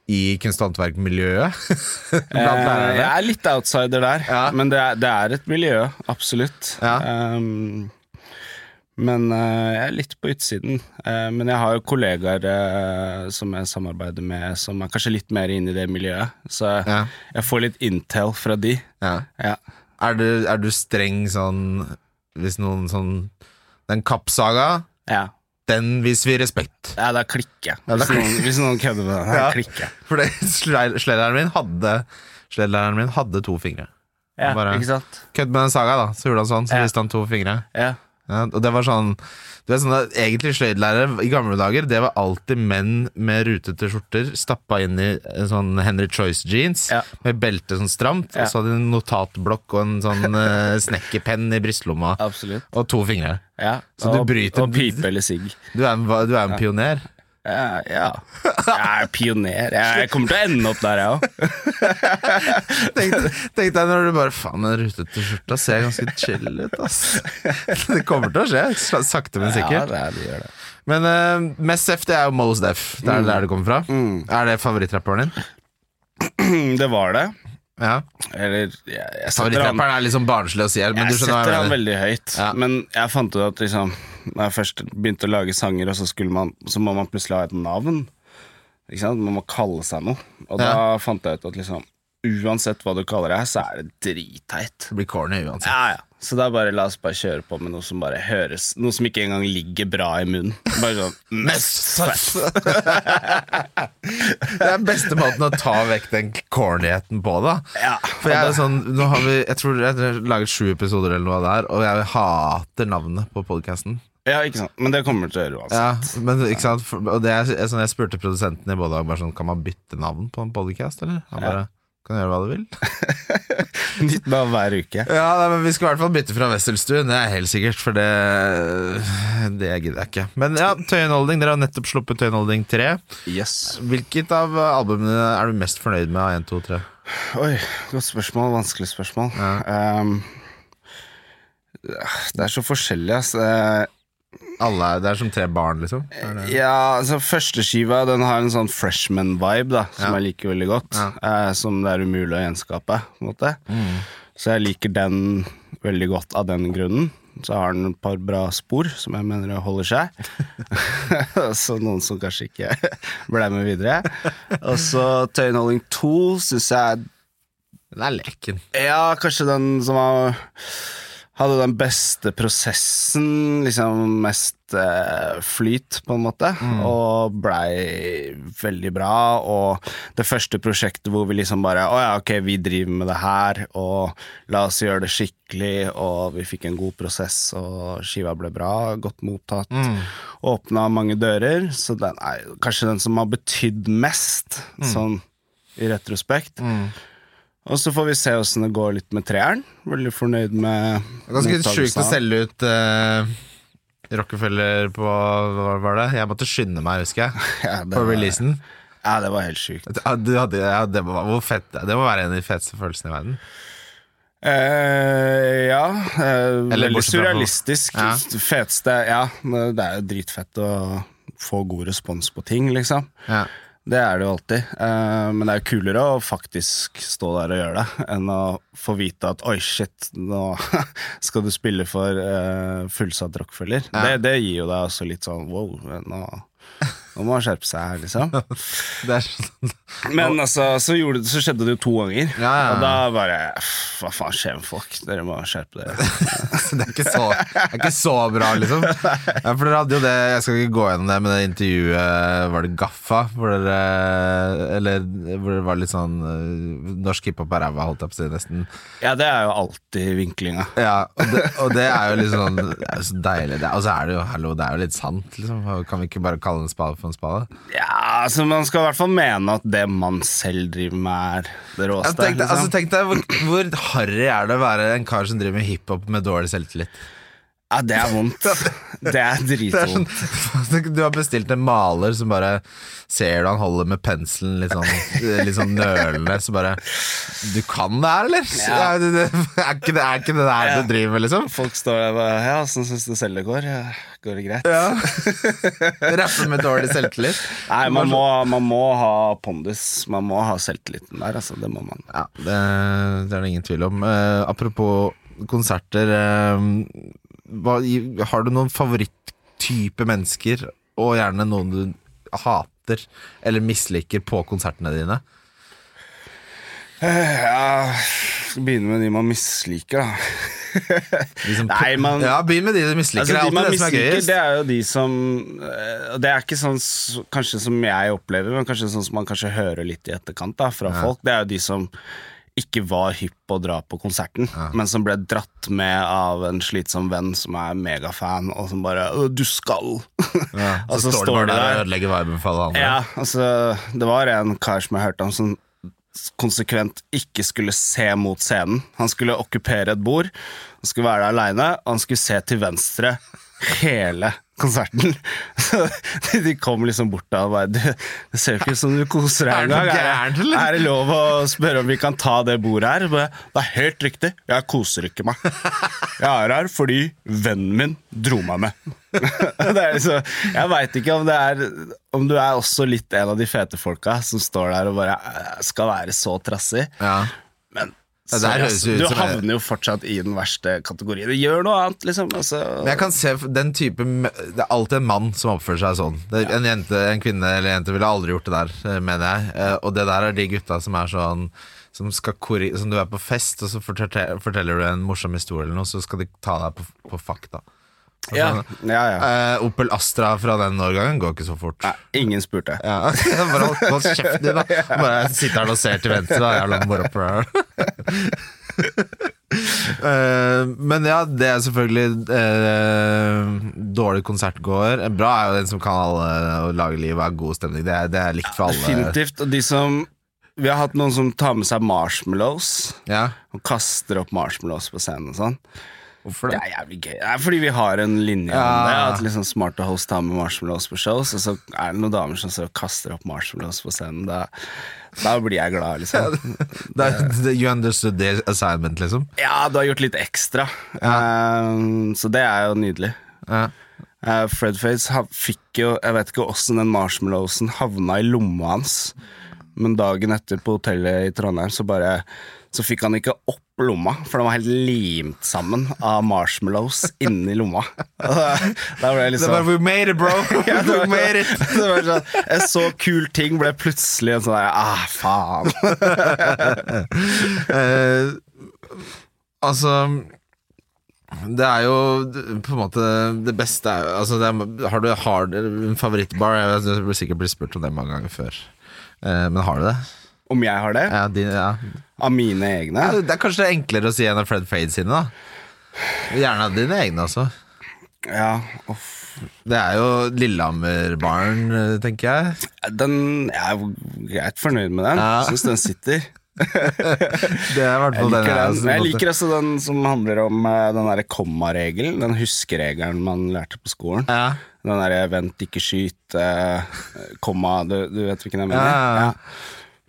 [SPEAKER 2] i kunst- og håndverkmiljøet? Blant
[SPEAKER 3] Eh,
[SPEAKER 2] lærerne?
[SPEAKER 3] jeg er litt outsider der,
[SPEAKER 2] Ja.
[SPEAKER 3] men det er, det er et miljø, absolutt.
[SPEAKER 2] Ja.
[SPEAKER 3] Ehm, men eh, jeg er litt på utsiden. Eh, men jeg har jo kollegaer eh, som jeg samarbeider med, som er kanskje litt mer inne i det miljøet. Så
[SPEAKER 2] Ja.
[SPEAKER 3] jeg får litt intel fra de.
[SPEAKER 2] Ja.
[SPEAKER 3] Ja.
[SPEAKER 2] Er, du, er du streng sånn Hvis noen sånn Den kappsaga,
[SPEAKER 3] Ja.
[SPEAKER 2] den viser vi respekt.
[SPEAKER 3] ja, da klikker jeg.
[SPEAKER 2] da
[SPEAKER 3] Hvis, noen- hvis noen kødder med det, da
[SPEAKER 2] Ja.
[SPEAKER 3] klikker jeg.
[SPEAKER 2] For det- sled- slederen min hadde Slederen min hadde to fingre.
[SPEAKER 3] Ja,
[SPEAKER 2] Bare-
[SPEAKER 3] Ikke sant?
[SPEAKER 2] Kødd med den saga, da. Så gjorde han sånn, så
[SPEAKER 3] Ja.
[SPEAKER 2] viste han to fingre.
[SPEAKER 3] Ja.
[SPEAKER 2] Ja, og det var sånn Du vet sånn at Egentlig sløydlærere i gamle dager, det var alltid menn med rutete skjorter stappa inn i en sånn Henry Choice-jeans
[SPEAKER 3] Ja.
[SPEAKER 2] med belte sånn stramt,
[SPEAKER 3] Ja.
[SPEAKER 2] og så hadde de en notatblokk og en sånn eh, snekkerpenn i brystlomma.
[SPEAKER 3] Absolutt.
[SPEAKER 2] Og to fingre.
[SPEAKER 3] Ja.
[SPEAKER 2] Så du
[SPEAKER 3] og,
[SPEAKER 2] bryter-
[SPEAKER 3] Og pipe eller sigg.
[SPEAKER 2] Du er en, du er en pioner.
[SPEAKER 3] Ja, ja. Jeg er pioner. Jeg kommer til å ende opp der, jeg òg.
[SPEAKER 2] Tenk tenk deg når du bare Faen, den rutete skjorta ser ganske chill ut, ass. Det kommer til å skje, sa- sakte, men sikkert.
[SPEAKER 3] Ja, det, det gjør det.
[SPEAKER 2] Men eh, mest F, det er jo Mos Def. Det er
[SPEAKER 3] Mm.
[SPEAKER 2] der det kommer fra. Er det favorittrapperen din?
[SPEAKER 3] Det var det.
[SPEAKER 2] Ja.
[SPEAKER 3] Eller jeg, jeg setter han,
[SPEAKER 2] Favorittrapperen er litt sånn barnslig å si her, men
[SPEAKER 3] jeg
[SPEAKER 2] du skjønner hva
[SPEAKER 3] setter
[SPEAKER 2] jeg
[SPEAKER 3] han
[SPEAKER 2] mener.
[SPEAKER 3] veldig høyt.
[SPEAKER 2] Ja.
[SPEAKER 3] Men jeg fant ut at liksom Når jeg først begynte å lage sanger, og så, skulle man, så må man plutselig ha et navn. Ikke sant? Man må kalle seg noe. Og da fant jeg ut at liksom uansett hva du kaller deg, så er det dritteit.
[SPEAKER 2] Det blir corny uansett.
[SPEAKER 3] Ja, ja. Så da bare la oss bare kjøre på med noe som bare høres Noe som ikke engang ligger bra i munnen. Bare sånn
[SPEAKER 2] Mest fett. Det er beste måten å ta vekk den cornyheten på, da.
[SPEAKER 3] Ja.
[SPEAKER 2] For jeg er jo sånn Nå har vi Jeg tror jeg har laget sju episoder eller noe der, og jeg hater navnet på podkasten.
[SPEAKER 3] Ja, ikke sant. Men det kommer til å gjøre uansett.
[SPEAKER 2] Ja, men ikke sant For- Og det er er sånn jeg spurte produsenten i både dag bare sånn Kan man bytte navn på en podcast, eller? Han bare Kan du gjøre hva du vil?
[SPEAKER 3] Nytt navn hver uke.
[SPEAKER 2] Ja, nei, men vi skal i hvert fall bytte fra Wesselstuen, det er helt sikkert, for det Det gidder jeg ikke. Men ja, Tøyenholding. Dere har nettopp sluppet Tøyenholding 3.
[SPEAKER 3] Yes.
[SPEAKER 2] Hvilket av albumene er du mest fornøyd med av 1, 2, 3?
[SPEAKER 3] Oi, godt spørsmål. Vanskelig spørsmål. Ehm, det er så forskjellig, ass. Eh,
[SPEAKER 2] Alle er, det er som tre barn, liksom. Er det-
[SPEAKER 3] ja, altså Førsteskiva den har en sånn freshman-vibe da som
[SPEAKER 2] Ja.
[SPEAKER 3] jeg liker veldig godt. eh, som det er umulig å gjenskape. på en måte
[SPEAKER 2] Mm.
[SPEAKER 3] Så jeg liker den veldig godt av den grunnen. Så har den et par bra spor som jeg mener holder seg. så noen som kanskje ikke ble med videre. Og så Tøyenholding 2 syns jeg er
[SPEAKER 2] Den er leken.
[SPEAKER 3] Ja, kanskje den som har hadde den beste prosessen, liksom mest eh, flyt, på en måte, og blei veldig bra. Og det første prosjektet hvor vi liksom bare Å ja, ok, vi driver med det her, og la oss gjøre det skikkelig, og vi fikk en god prosess, og skiva ble bra, godt mottatt. Åpna mange dører, så den er jo kanskje den som har betydd mest, sånn i retrospekt.
[SPEAKER 2] Mm.
[SPEAKER 3] Og så får vi se åssen det går litt med treeren. Veldig fornøyd med
[SPEAKER 2] Det er Ganske
[SPEAKER 3] mottagelsen
[SPEAKER 2] sjukt å
[SPEAKER 3] av den.
[SPEAKER 2] selge ut eh, Rockefeller på Hva var det? Jeg måtte skynde meg, husker jeg,
[SPEAKER 3] Ja, det
[SPEAKER 2] på
[SPEAKER 3] var-
[SPEAKER 2] releasen.
[SPEAKER 3] Ja, det var helt sjukt.
[SPEAKER 2] Ja, du hadde, ja, det, må, hvor fett, det må være en av de feteste følelsene i verden.
[SPEAKER 3] Eh, ja. eh,
[SPEAKER 2] Eller
[SPEAKER 3] veldig
[SPEAKER 2] bortsett fra-
[SPEAKER 3] surrealistisk.
[SPEAKER 2] Ja.
[SPEAKER 3] Feteste Ja, men det er jo dritfett å få god respons på ting, liksom.
[SPEAKER 2] Ja.
[SPEAKER 3] Det er det jo alltid. Eh, men det er jo kulere å faktisk stå der og gjøre det, enn å få vite at oi, shit, nå skal du spille for eh, fullsatt rockefeller. Det, det gir jo deg også litt sånn wow, nå, nå må man skjerpe seg her, liksom.
[SPEAKER 2] Det er sånn
[SPEAKER 3] Men altså, så, gjorde, det- så skjedde det jo to ganger,
[SPEAKER 2] Ja, ja, ja.
[SPEAKER 3] og da bare "Pff, Hva faen skjer med folk? Dere må skjerpe dere.
[SPEAKER 2] Så det er ikke så, det er ikke så bra, liksom. Ja, for dere hadde jo det Jeg skal ikke gå gjennom det, men det intervjuet var det Gaffa? Hvor dere Eller hvor det var litt sånn eh, Norsk hiphop er ræva, holdt jeg på å si, nesten.
[SPEAKER 3] Ja, det er jo alltid vinklinga.
[SPEAKER 2] Ja, og det, og det er jo litt sånn Det er jo så deilig. Det, og så er det jo Hallo, det er jo litt sant, liksom. Kan vi ikke bare kalle en spade for en spade?
[SPEAKER 3] Ja, altså, man skal i hvert fall mene at det man selv driver med, er det
[SPEAKER 2] Ja,
[SPEAKER 3] råeste.
[SPEAKER 2] tenk, deg-
[SPEAKER 3] liksom.
[SPEAKER 2] altså, tenk deg hvor, hvor harry er det å være en kar som driver med hiphop med dårlig selvtillit?
[SPEAKER 3] Ja, det er vondt. Det er
[SPEAKER 2] Det er sånn,
[SPEAKER 3] dritvondt.
[SPEAKER 2] du har bestilt en maler som bare ser du han holder med penselen litt sånn, litt sånn nølende, så bare Du kan det her, eller?
[SPEAKER 3] Ja.
[SPEAKER 2] Er, det, det- er, ikke, det- er ikke det her du driver med, liksom?
[SPEAKER 3] Folk står der og bare Ja, åssen syns du selv det går? Ja, går det greit?
[SPEAKER 2] Ja. Rappe med dårlig selvtillit.
[SPEAKER 3] Nei,
[SPEAKER 2] sånn-
[SPEAKER 3] man må, man må ha pondus. Man må ha selvtilliten der, altså. Det må man.
[SPEAKER 2] Ja, det, det er det ingen tvil om. Eh, apropos konserter, eh, hva, i- har du noen favoritttype mennesker, og gjerne noen du hater eller misliker på konsertene dine?
[SPEAKER 3] Ja, skal begynne med de man misliker, da.
[SPEAKER 2] De som-
[SPEAKER 3] Nei, man-
[SPEAKER 2] Ja, begynn med de du misliker.
[SPEAKER 3] Altså,
[SPEAKER 2] det er
[SPEAKER 3] de man
[SPEAKER 2] alltid det som er
[SPEAKER 3] misliker,
[SPEAKER 2] gøyest.
[SPEAKER 3] det er jo de som eh, og Det er ikke sånn s- kanskje som jeg opplever, men kanskje sånn som man kanskje hører litt i etterkant da, fra folk. Det er jo de som ikke var hypp på å dra på konserten, men som ble dratt med av en slitsom venn som er megafan, og som bare «Å, 'Du skal!'
[SPEAKER 2] Ja,
[SPEAKER 3] og
[SPEAKER 2] så, Altså, står du bare der og ødelegger viben for alle andre.
[SPEAKER 3] ja, altså, det var en kar som jeg hørte om som konsekvent ikke skulle se mot scenen. Han skulle okkupere et bord, han skulle være der aleine, og han skulle se til venstre hele konserten. Så de- de kom liksom bort da og bare Du, det ser jo ikke ut som du koser deg
[SPEAKER 2] Er du
[SPEAKER 3] engang.
[SPEAKER 2] gæren, eller?
[SPEAKER 3] Er det lov å spørre om vi kan ta det bordet her? Bare, Det er helt riktig, jeg koser ikke meg. Jeg er her fordi vennen min dro meg med. det er liksom, jeg veit ikke om det er Om du er også litt en av de fete folka som står der og bare eh, skal være så trassig.
[SPEAKER 2] Ja.
[SPEAKER 3] Men
[SPEAKER 2] Ja, det
[SPEAKER 3] sorry,
[SPEAKER 2] her
[SPEAKER 3] ass,
[SPEAKER 2] høres jo ut
[SPEAKER 3] du
[SPEAKER 2] som jeg-
[SPEAKER 3] havner jo fortsatt i den verste kategorien. Gjør noe annet, liksom. Altså,
[SPEAKER 2] Men jeg kan se f- den type m- Det er alltid en mann som oppfører seg sånn. Det, en, jente, en kvinne eller jente ville aldri gjort det der, eh, mener jeg. Eh, Og det der er de gutta som er sånn som, skal korri som du er på fest, og så forteller, forteller du en morsom historie, eller noe, så skal de ta deg på, på fakta.
[SPEAKER 3] ja, ja, ja.
[SPEAKER 2] Eh, Opel Astra fra den årgangen går ikke så fort.
[SPEAKER 3] Nei, ingen spurte.
[SPEAKER 2] Ja, bare hold, hold kjeften din, da. Bare sitter han og ser til venstre, da. Jævla moropuler. Eh, men ja, det er selvfølgelig eh, dårlig konsertgåer. Bra er jo den som kan alle å lage liv og er god stemning. Det er, det er likt for alle.
[SPEAKER 3] Definitivt. Og de som Vi har hatt noen som tar med seg marshmallows.
[SPEAKER 2] Ja,
[SPEAKER 3] Og kaster opp marshmallows på scenen og sånn.
[SPEAKER 2] hvorfor
[SPEAKER 3] Det
[SPEAKER 2] det?
[SPEAKER 3] er jævlig gøy. Det er fordi vi har en linje om det.
[SPEAKER 2] Ja.
[SPEAKER 3] At liksom smarte host tar med marshmallows på shows, og så er det noen damer som så kaster opp marshmallows på scenen. Da, da blir jeg glad, liksom.
[SPEAKER 2] Det er, det, you understood the assignment, liksom.
[SPEAKER 3] Ja, du har gjort litt ekstra. Eh, så det er jo nydelig.
[SPEAKER 2] Ja.
[SPEAKER 3] Eh, Fred Fates hav- fikk jo Jeg vet ikke åssen den marshmallowsen havna i lomma hans, men dagen etter på hotellet i Trondheim så bare Så fikk han ikke opp lomma, for den var helt limt sammen av marshmallows inni lomma. Og Da da ble jeg
[SPEAKER 2] Det er bare
[SPEAKER 3] liksom
[SPEAKER 2] We made it, bro!
[SPEAKER 3] Ja, det
[SPEAKER 2] We
[SPEAKER 3] var-
[SPEAKER 2] made it!
[SPEAKER 3] det var sånn, En så kul ting ble plutselig en sånn der, Ah, faen.
[SPEAKER 2] Eh, altså Det er jo på en måte det beste er, jo- altså, det er, Har du hard, en favorittbar? Jeg vet- Du blir sikkert blitt spurt om det mange ganger før. Eh, men har du det?
[SPEAKER 3] Om jeg har det?
[SPEAKER 2] Ja, de, ja.
[SPEAKER 3] Av mine egne?
[SPEAKER 2] Det er kanskje enklere å si enn av Fred Fade sine, da. Gjerne av dine egne også.
[SPEAKER 3] Ja. Uff.
[SPEAKER 2] Det er jo Lillehammer-baren, eh, tenker jeg.
[SPEAKER 3] Den Jeg er greit fornøyd med den.
[SPEAKER 2] Ja.
[SPEAKER 3] Syns den sitter.
[SPEAKER 2] Det er i hvert
[SPEAKER 3] Jeg
[SPEAKER 2] fall
[SPEAKER 3] liker,
[SPEAKER 2] jeg-
[SPEAKER 3] den.
[SPEAKER 2] som-
[SPEAKER 3] jeg liker også den som handler om eh, den derre kommaregelen. Den huskeregelen man lærte på skolen.
[SPEAKER 2] ja.
[SPEAKER 3] Den derre 'vent, ikke skyt', eh, komma du, du vet hvilken jeg mener?
[SPEAKER 2] Ja, ja, ja.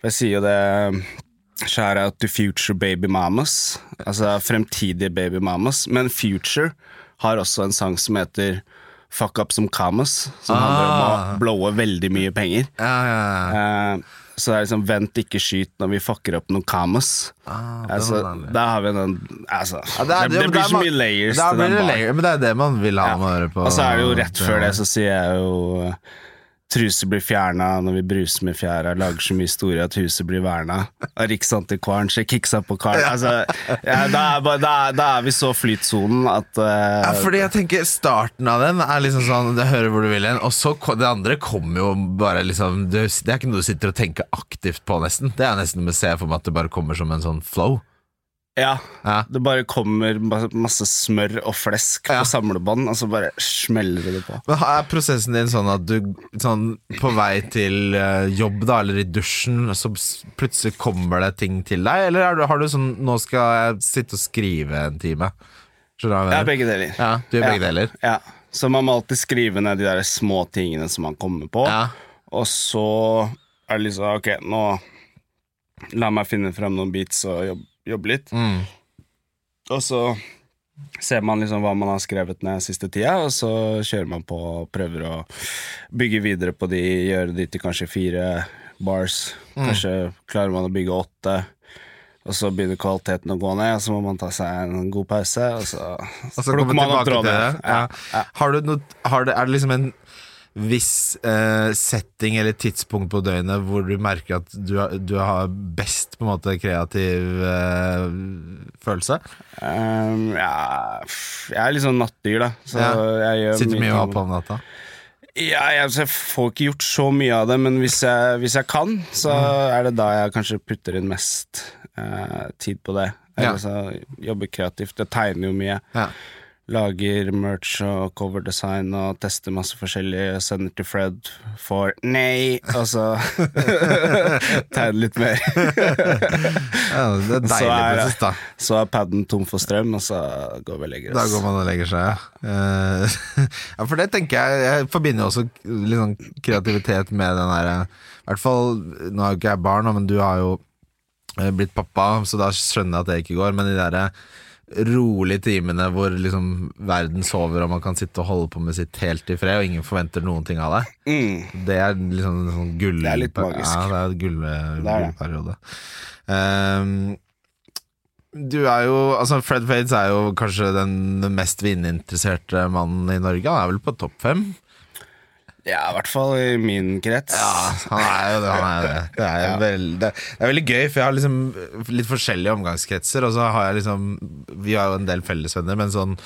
[SPEAKER 3] Jeg sier jo det Shout out to future baby mamas. Altså fremtidige baby mamas. Men Future har også en sang som heter Fuck up some commas, som handler om
[SPEAKER 2] Ah.
[SPEAKER 3] å blowe veldig mye penger.
[SPEAKER 2] Ja, ja, ja.
[SPEAKER 3] Eh, så det er liksom 'vent, ikke skyt' når vi fucker opp noen kamus.
[SPEAKER 2] Ah, det
[SPEAKER 3] altså,
[SPEAKER 2] var deilig.
[SPEAKER 3] da har vi den altså,
[SPEAKER 2] Ja,
[SPEAKER 3] det,
[SPEAKER 2] er-
[SPEAKER 3] det,
[SPEAKER 2] men
[SPEAKER 3] blir
[SPEAKER 2] er
[SPEAKER 3] så
[SPEAKER 2] man-
[SPEAKER 3] mye layers
[SPEAKER 2] da
[SPEAKER 3] til
[SPEAKER 2] blir
[SPEAKER 3] den
[SPEAKER 2] det
[SPEAKER 3] baren.
[SPEAKER 2] langer, Men det er det man vil ha
[SPEAKER 3] Ja.
[SPEAKER 2] med å høre på.
[SPEAKER 3] Og så er det jo rett før det, så sier jeg jo eh, Truser blir fjerna når vi bruser med fjæra, lager så mye store at huset blir verna. Og Riksantikvaren ser kiksa på karen. Altså, ja, da, er, bare- da, er- da er vi så flytsonen at eh,
[SPEAKER 2] Ja, fordi jeg tenker Starten av den er liksom sånn Du hører hvor du vil hen, og så ko- det andre kommer jo bare liksom du, Det er ikke noe du sitter og tenker aktivt på, nesten. Det er nesten noe med å se for meg at det bare kommer som en sånn flow.
[SPEAKER 3] Ja,
[SPEAKER 2] Ja.
[SPEAKER 3] det bare kommer ma- masse smør og flesk
[SPEAKER 2] Ja.
[SPEAKER 3] på samlebånd, og så bare smeller det på.
[SPEAKER 2] Men Er prosessen din sånn at du sånn, på vei til eh, jobb da, eller i dusjen, så s- plutselig kommer det ting til deg? Eller er du, har du sånn 'nå skal jeg sitte og skrive en time'? Skjønner du
[SPEAKER 3] Ja,
[SPEAKER 2] hva jeg mener?
[SPEAKER 3] begge deler.
[SPEAKER 2] Ja, du gjør begge deler.
[SPEAKER 3] Ja. Så man må alltid skrive ned de der små tingene som man kommer på.
[SPEAKER 2] Ja.
[SPEAKER 3] Og så er det liksom Ok, nå la meg finne frem noen beats og jobbe, jobbe litt.
[SPEAKER 2] Mm.
[SPEAKER 3] Og så ser man liksom hva man har skrevet ned siste tida, og så kjører man på og prøver å bygge videre på de, gjøre de til kanskje fire bars.
[SPEAKER 2] Mm.
[SPEAKER 3] Kanskje klarer man å bygge åtte, og så begynner kvaliteten å gå ned, og så må man ta seg en god pause, og så,
[SPEAKER 2] Og så kommer tilbake til det. Ja.
[SPEAKER 3] Ja.
[SPEAKER 2] Har du noe, har det, er det liksom en viss eh, setting eller tidspunkt på døgnet hvor du merker at du, har- du har best på en måte kreativ eh, følelse?
[SPEAKER 3] Ehm, ja, pff, jeg er litt sånn nattdyr, da. Så
[SPEAKER 2] Ja.
[SPEAKER 3] jeg gjør
[SPEAKER 2] Sitter mye
[SPEAKER 3] ting-
[SPEAKER 2] oppe om natta?
[SPEAKER 3] Ja, jeg, altså, jeg får ikke gjort så mye av det, men hvis jeg, hvis jeg kan, så
[SPEAKER 2] Mm.
[SPEAKER 3] er det da jeg kanskje putter inn mest eh, tid på det.
[SPEAKER 2] Ja.
[SPEAKER 3] Eller så jobber kreativt. Jeg tegner jo mye.
[SPEAKER 2] Ja.
[SPEAKER 3] Lager merch og coverdesign og tester masse forskjellig. Sender til Fred for nei, og så tegner litt mer.
[SPEAKER 2] ja, det er
[SPEAKER 3] Så
[SPEAKER 2] deilig
[SPEAKER 3] er det-
[SPEAKER 2] faktisk, da.
[SPEAKER 3] Så er paden tom for strøm, og så går vi og legger
[SPEAKER 2] Da
[SPEAKER 3] oss.
[SPEAKER 2] går man og legger seg, ja. Eh, ja for det tenker jeg Jeg forbinder jo også litt sånn kreativitet med den derre I hvert fall Nå har jo ikke jeg barn, nå, men du har jo eh, blitt pappa, så da skjønner jeg at det ikke går. Men de derre rolige timene hvor liksom verden sover, og man kan sitte og holde på med sitt helt i fred, og ingen forventer noen ting av deg,
[SPEAKER 3] Mm.
[SPEAKER 2] det er liksom en sånn gull...
[SPEAKER 3] Det er litt magisk.
[SPEAKER 2] Ja, det er en gull,
[SPEAKER 3] det.
[SPEAKER 2] gullperiode. Ehm, du er jo Altså, Fred Fades er jo kanskje den mest vininteresserte mannen i Norge. Han er vel på topp fem?
[SPEAKER 3] Ja, i hvert fall i min krets.
[SPEAKER 2] han er jo det. Han er jo det. Det, er veld, det er veldig gøy, for jeg har liksom litt forskjellige omgangskretser, og så har jeg liksom Vi har jo en del fellesvenner, men sånn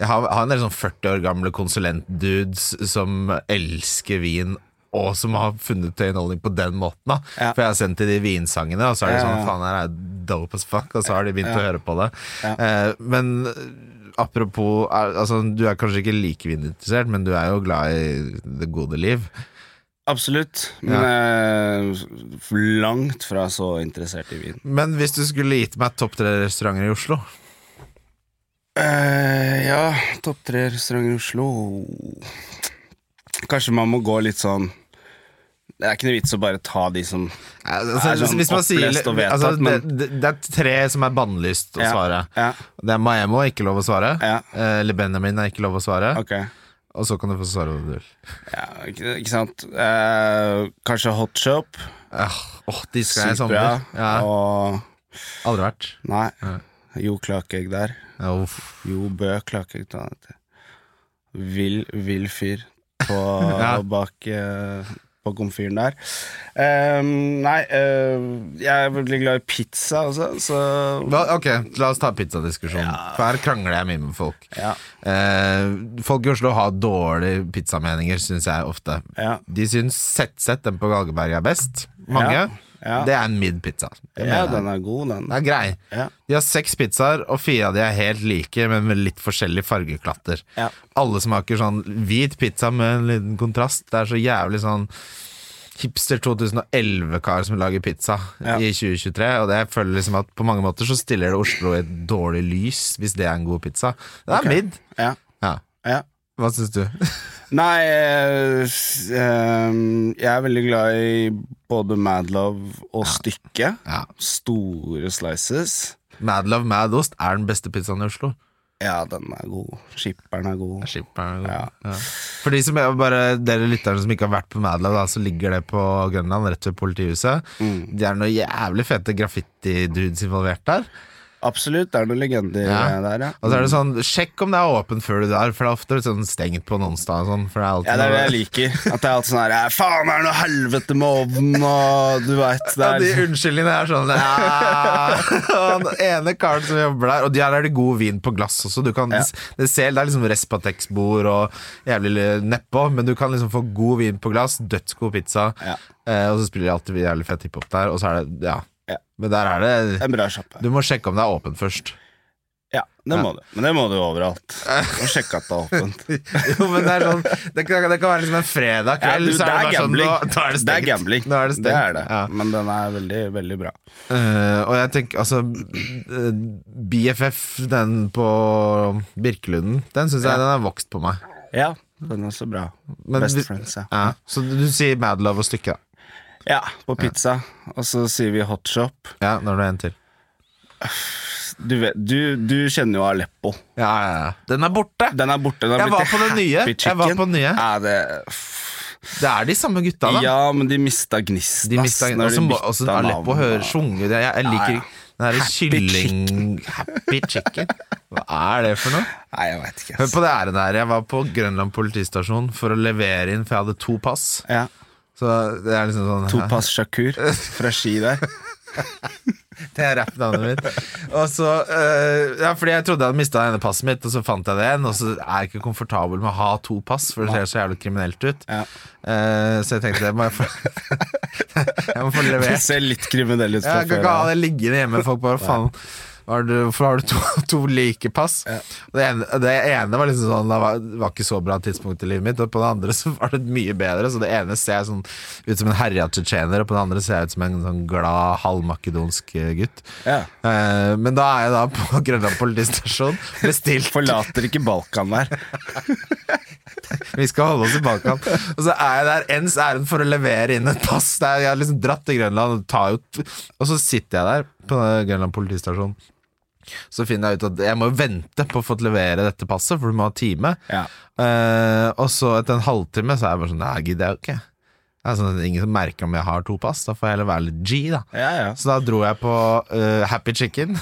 [SPEAKER 2] jeg har, har en del sånn 40 år gamle konsulentdudes som elsker vin. Og som har funnet underholdning på den måten. da
[SPEAKER 3] Ja.
[SPEAKER 2] For jeg har sendt til de vinsangene, og så er de
[SPEAKER 3] Ja, ja.
[SPEAKER 2] sånn Faen, her er dope as fuck. Og så har de begynt å høre på det.
[SPEAKER 3] Ja.
[SPEAKER 2] Eh, men apropos er, altså, Du er kanskje ikke like vininteressert, men du er jo glad i det gode liv.
[SPEAKER 3] Absolutt, men eh, langt fra så interessert i vin.
[SPEAKER 2] Men hvis du skulle gitt meg topp tre restauranter i Oslo
[SPEAKER 3] Eh, ja, topp tre restauranter i Oslo Kanskje man må gå litt sånn Det er ikke noe vits å bare ta de som
[SPEAKER 2] altså,
[SPEAKER 3] Er det sånn
[SPEAKER 2] hvis man sier,
[SPEAKER 3] opplest og vedtatt,
[SPEAKER 2] altså, det,
[SPEAKER 3] men-
[SPEAKER 2] det, det er tre som er bannlyst å
[SPEAKER 3] Ja,
[SPEAKER 2] svare.
[SPEAKER 3] Ja,
[SPEAKER 2] Det er Maemo, ikke lov å svare.
[SPEAKER 3] ja,
[SPEAKER 2] Eh, Eller Benjamin er ikke lov å svare.
[SPEAKER 3] ok
[SPEAKER 2] Og så kan du få svare hva du vil.
[SPEAKER 3] ja, ikke, ikke sant Eh, Kanskje Hot Shop
[SPEAKER 2] Åh, Ah, åh, de skal jeg i sommer.
[SPEAKER 3] Superbra
[SPEAKER 2] Ja,
[SPEAKER 3] Og,
[SPEAKER 2] aldri vært.
[SPEAKER 3] nei
[SPEAKER 2] Ja.
[SPEAKER 3] Jo Klakegg der
[SPEAKER 2] Ja, uff.
[SPEAKER 3] Jo Bø Klakegg da, han heter. Vill, vill fyr på,
[SPEAKER 2] Ja.
[SPEAKER 3] bak eh, på komfyren der. Ehm, nei, eh, jeg er veldig glad i pizza også, så
[SPEAKER 2] Hva- Ok, la oss ta pizzadiskusjonen. For her krangler jeg mye med folk.
[SPEAKER 3] ja,
[SPEAKER 2] Eh, folk i Oslo har dårlige pizzameninger, syns jeg ofte.
[SPEAKER 3] ja,
[SPEAKER 2] De syns Sett-Sett, den på Galgeberg, er best. Mange.
[SPEAKER 3] Ja, ja.
[SPEAKER 2] Det er en mid-pizza. Det
[SPEAKER 3] ja,
[SPEAKER 2] mener jeg.
[SPEAKER 3] den er god, den.
[SPEAKER 2] Den er grei.
[SPEAKER 3] Ja.
[SPEAKER 2] De har seks pizzaer, og fire av de er helt like, men med litt forskjellige fargeklatter.
[SPEAKER 3] Ja.
[SPEAKER 2] Alle smaker sånn hvit pizza med en liten kontrast. Det er så jævlig sånn hipster 2011-kar som lager pizza
[SPEAKER 3] Ja.
[SPEAKER 2] i 2023. Og det jeg føler liksom at på mange måter så stiller det Oslo i et dårlig lys, hvis det er en god pizza. Det er
[SPEAKER 3] Ok.
[SPEAKER 2] midd.
[SPEAKER 3] Ja,
[SPEAKER 2] Ja.
[SPEAKER 3] ja.
[SPEAKER 2] Hva syns du?
[SPEAKER 3] Nei, eh, s- ehm, jeg er veldig glad i både Madlove og Stykke.
[SPEAKER 2] Ja.
[SPEAKER 3] Store slices.
[SPEAKER 2] Madlove Madost er den beste pizzaen i Oslo.
[SPEAKER 3] Ja, den er god. Skipperen er god.
[SPEAKER 2] Skipperen.
[SPEAKER 3] Ja.
[SPEAKER 2] Ja. For de som er bare, dere lytterne som ikke har vært på Madlab, da, så ligger det på Grønland, rett ved politihuset.
[SPEAKER 3] Mm.
[SPEAKER 2] Det er noen jævlig fete graffiti-dudes involvert der.
[SPEAKER 3] Absolutt, det er noen legender
[SPEAKER 2] Ja.
[SPEAKER 3] eh, der, ja.
[SPEAKER 2] Og så er det sånn, sjekk om det er åpent før du drar, for det er ofte sånn stengt på en onsdag og sånn. For det er alltid
[SPEAKER 3] Ja, det er det jeg
[SPEAKER 2] noe-
[SPEAKER 3] liker. At det er alt sånn her «Ja, Faen, er det noe helvete med ovnen og Du veit. Det
[SPEAKER 2] Ja, de
[SPEAKER 3] er liksom-"
[SPEAKER 2] unnskyldningene er sånn ja. Og Den ene karen som jobber der Og der er det god vin på glass også du kan,
[SPEAKER 3] Ja.
[SPEAKER 2] det, ser, det er liksom Respatex-bord og jævlig neppå Men du kan liksom få god vin på glass Dødsgod pizza
[SPEAKER 3] Ja.
[SPEAKER 2] eh, Og så spiller de alltid jævlig fett hiphop der Og så er det, ja
[SPEAKER 3] Ja.
[SPEAKER 2] Men der er det
[SPEAKER 3] en bra sjappe.
[SPEAKER 2] Du må sjekke om det er åpent først
[SPEAKER 3] Ja, det må du. Men det må du overalt. Og sjekke at det er åpent.
[SPEAKER 2] Jo, men det er sånn Det kan, det kan være liksom en
[SPEAKER 3] Ja,
[SPEAKER 2] fredag kveld,
[SPEAKER 3] du,
[SPEAKER 2] så er det, bare sånn nå, nå er det
[SPEAKER 3] det er
[SPEAKER 2] stengt.
[SPEAKER 3] gambling.
[SPEAKER 2] Nå er det stengt.
[SPEAKER 3] Det er det.
[SPEAKER 2] Ja.
[SPEAKER 3] Men den er veldig, veldig bra.
[SPEAKER 2] Eh, og jeg tenker, altså eh, BFF, den på Birkelunden, den syns jeg den har vokst på meg.
[SPEAKER 3] Ja, den er også bra.
[SPEAKER 2] Men
[SPEAKER 3] Best
[SPEAKER 2] vi-
[SPEAKER 3] friends, ja.
[SPEAKER 2] Ja. Så du sier Mad Love og stykke, da.
[SPEAKER 3] Ja, på pizza. Og så sier vi hot shop.
[SPEAKER 2] Ja, når du er en til.
[SPEAKER 3] Du, vet, du, du kjenner jo Aleppo.
[SPEAKER 2] Ja, ja, ja. Den er borte!
[SPEAKER 3] Den er borte. Den er
[SPEAKER 2] Jeg
[SPEAKER 3] blitt
[SPEAKER 2] var
[SPEAKER 3] til
[SPEAKER 2] på den nye.
[SPEAKER 3] Happy
[SPEAKER 2] Jeg var
[SPEAKER 3] Chicken.
[SPEAKER 2] på den nye.
[SPEAKER 3] Ja, det,
[SPEAKER 2] Det er de samme gutta, da.
[SPEAKER 3] ja, men de mista gnisten.
[SPEAKER 2] De
[SPEAKER 3] ass,
[SPEAKER 2] mista
[SPEAKER 3] når de
[SPEAKER 2] også,
[SPEAKER 3] bytta
[SPEAKER 2] også
[SPEAKER 3] navn,
[SPEAKER 2] Aleppo hører sjunge det. Jeg, jeg liker
[SPEAKER 3] ja.
[SPEAKER 2] den derre
[SPEAKER 3] Happy
[SPEAKER 2] kylling Happy chicken. Hva er det for noe?
[SPEAKER 3] Nei, jeg veit ikke.
[SPEAKER 2] Hør
[SPEAKER 3] Ass.
[SPEAKER 2] på det æren her. Jeg var på Grønland politistasjon for å levere inn, for jeg hadde to pass.
[SPEAKER 3] Ja,
[SPEAKER 2] Så det er liksom sånn
[SPEAKER 3] to pass Shakur fra Ski der.
[SPEAKER 2] Det er rappnavnet mitt. Og så, eh, ja, fordi jeg trodde jeg hadde mista ene passet mitt, og så fant jeg det igjen. Og så er jeg ikke komfortabel med å ha to pass, for det ser så jævlig kriminelt ut.
[SPEAKER 3] Ja.
[SPEAKER 2] Eh, så jeg tenkte det må jeg få Jeg må få
[SPEAKER 3] Det
[SPEAKER 2] levert.
[SPEAKER 3] ser litt kriminell ut fra
[SPEAKER 2] Jeg kan
[SPEAKER 3] før.
[SPEAKER 2] ikke ha
[SPEAKER 3] da.
[SPEAKER 2] det liggende hjemme. Folk bare faen hva er det- Hvorfor har du to, to like pass? Og Det, ene, det ene var liksom sånn Det var, det var ikke så bra tidspunkt i livet mitt, og på det andre så var det mye bedre. Så det ene ser jeg sånn, ut som en herja tsjetsjener, og på det andre ser jeg ut som en sånn glad halvmakedonsk eh, gutt.
[SPEAKER 3] Ja.
[SPEAKER 2] Eh, men da er jeg da på Grønland politistasjon, bestilt
[SPEAKER 3] Forlater ikke Balkan der.
[SPEAKER 2] Vi skal holde oss i Balkan. Og så er jeg der ens ærend for å levere inn et pass. Det er- jeg har liksom dratt til Grønland og tar jo Og så sitter jeg der på den Grønland politistasjon. Så finner jeg ut at jeg må jo vente på å få levere dette passet, for du må ha time.
[SPEAKER 3] Ja.
[SPEAKER 2] Eh, og så etter en halvtime så er jeg bare sånn Nei, gidder jeg jo ikke. Det er sånn at Ingen som merker om jeg har to pass. Da får jeg heller være litt G, da.
[SPEAKER 3] Ja, ja.
[SPEAKER 2] Så da dro jeg på eh, Happy Chicken.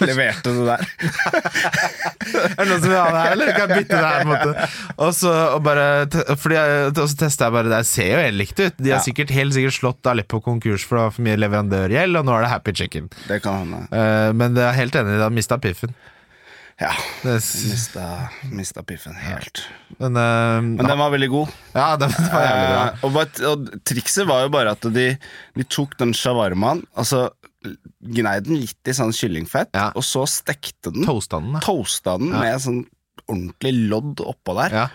[SPEAKER 3] Leverte det der.
[SPEAKER 2] Er det noen som vil ha det her, eller kan jeg bytte det her? på en måte Og så og bare te- Fordi jeg, og så testet jeg bare det, jeg ser jo helt likt ut. De har
[SPEAKER 3] Ja.
[SPEAKER 2] sikkert helt sikkert slått Aleppo konkurs for det var for mye leverandørgjeld, og nå er det Happy Chicken.
[SPEAKER 3] Det kan hende.
[SPEAKER 2] Eh, men det er helt enig, de har mista piffen.
[SPEAKER 3] Ja.
[SPEAKER 2] Det, s-
[SPEAKER 3] Mista, mista piffen helt.
[SPEAKER 2] men eh,
[SPEAKER 3] Men den var veldig god.
[SPEAKER 2] ja, det var jævlig bra.
[SPEAKER 3] Eh, og, bare- og trikset var jo bare at de, de tok den shawarmaen, altså gnei den litt i sånn kyllingfett,
[SPEAKER 2] Ja.
[SPEAKER 3] og så stekte den,
[SPEAKER 2] Toasta den, da.
[SPEAKER 3] toasta den med sånn ordentlig lodd oppå der.
[SPEAKER 2] Ja.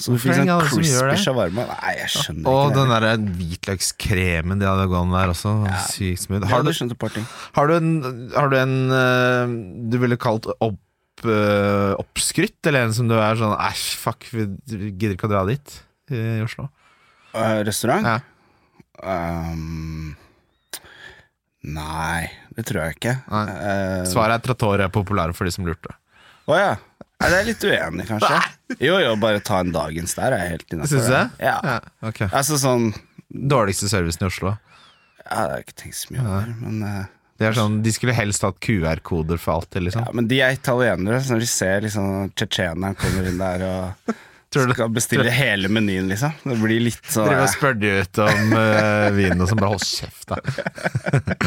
[SPEAKER 3] Så du
[SPEAKER 2] Hvorfor
[SPEAKER 3] fikk
[SPEAKER 2] er det ingen
[SPEAKER 3] sånn
[SPEAKER 2] andre som gjør
[SPEAKER 3] crispy
[SPEAKER 2] det?
[SPEAKER 3] shawarma. Nei, jeg skjønner
[SPEAKER 2] Og
[SPEAKER 3] ikke
[SPEAKER 2] den
[SPEAKER 3] det.
[SPEAKER 2] der hvitløkskremen de hadde gående der også. Sykt smooth.
[SPEAKER 3] Har
[SPEAKER 2] Har
[SPEAKER 3] du
[SPEAKER 2] du,
[SPEAKER 3] skjønt et par ting?
[SPEAKER 2] har du en, har du, en eh, du ville kalt opp, eh, oppskrytt, eller en som du er sånn Æsj, fuck, vi gidder ikke å dra dit eh, i Oslo?
[SPEAKER 3] Eh, restaurant?
[SPEAKER 2] Ja.
[SPEAKER 3] Ehm, nei, det tror jeg ikke.
[SPEAKER 2] Nei.
[SPEAKER 3] Eh,
[SPEAKER 2] Svaret er Trattoria er populære for de som lurte.
[SPEAKER 3] Å ja. Nei, det er litt uenig, kanskje. Jo, jo, bare ta en dagens der, er jeg helt innafor.
[SPEAKER 2] Syns du det?
[SPEAKER 3] Ja.
[SPEAKER 2] Ja, ok.
[SPEAKER 3] Altså sånn
[SPEAKER 2] Dårligste servicen i Oslo.
[SPEAKER 3] Jeg har ikke tenkt så mye over men, eh,
[SPEAKER 2] De, er sånn, de skulle helst hatt QR-koder for alltid, liksom.
[SPEAKER 3] ja, men de er italienere, så når de ser liksom tsjetsjeneren kommer inn der og
[SPEAKER 2] Tror du-
[SPEAKER 3] skal bestille hele menyen, liksom Det blir litt sånn
[SPEAKER 2] Driver og
[SPEAKER 3] eh,
[SPEAKER 2] spør de ut om uh, vinen, og sånn. Bare hold kjeft, da.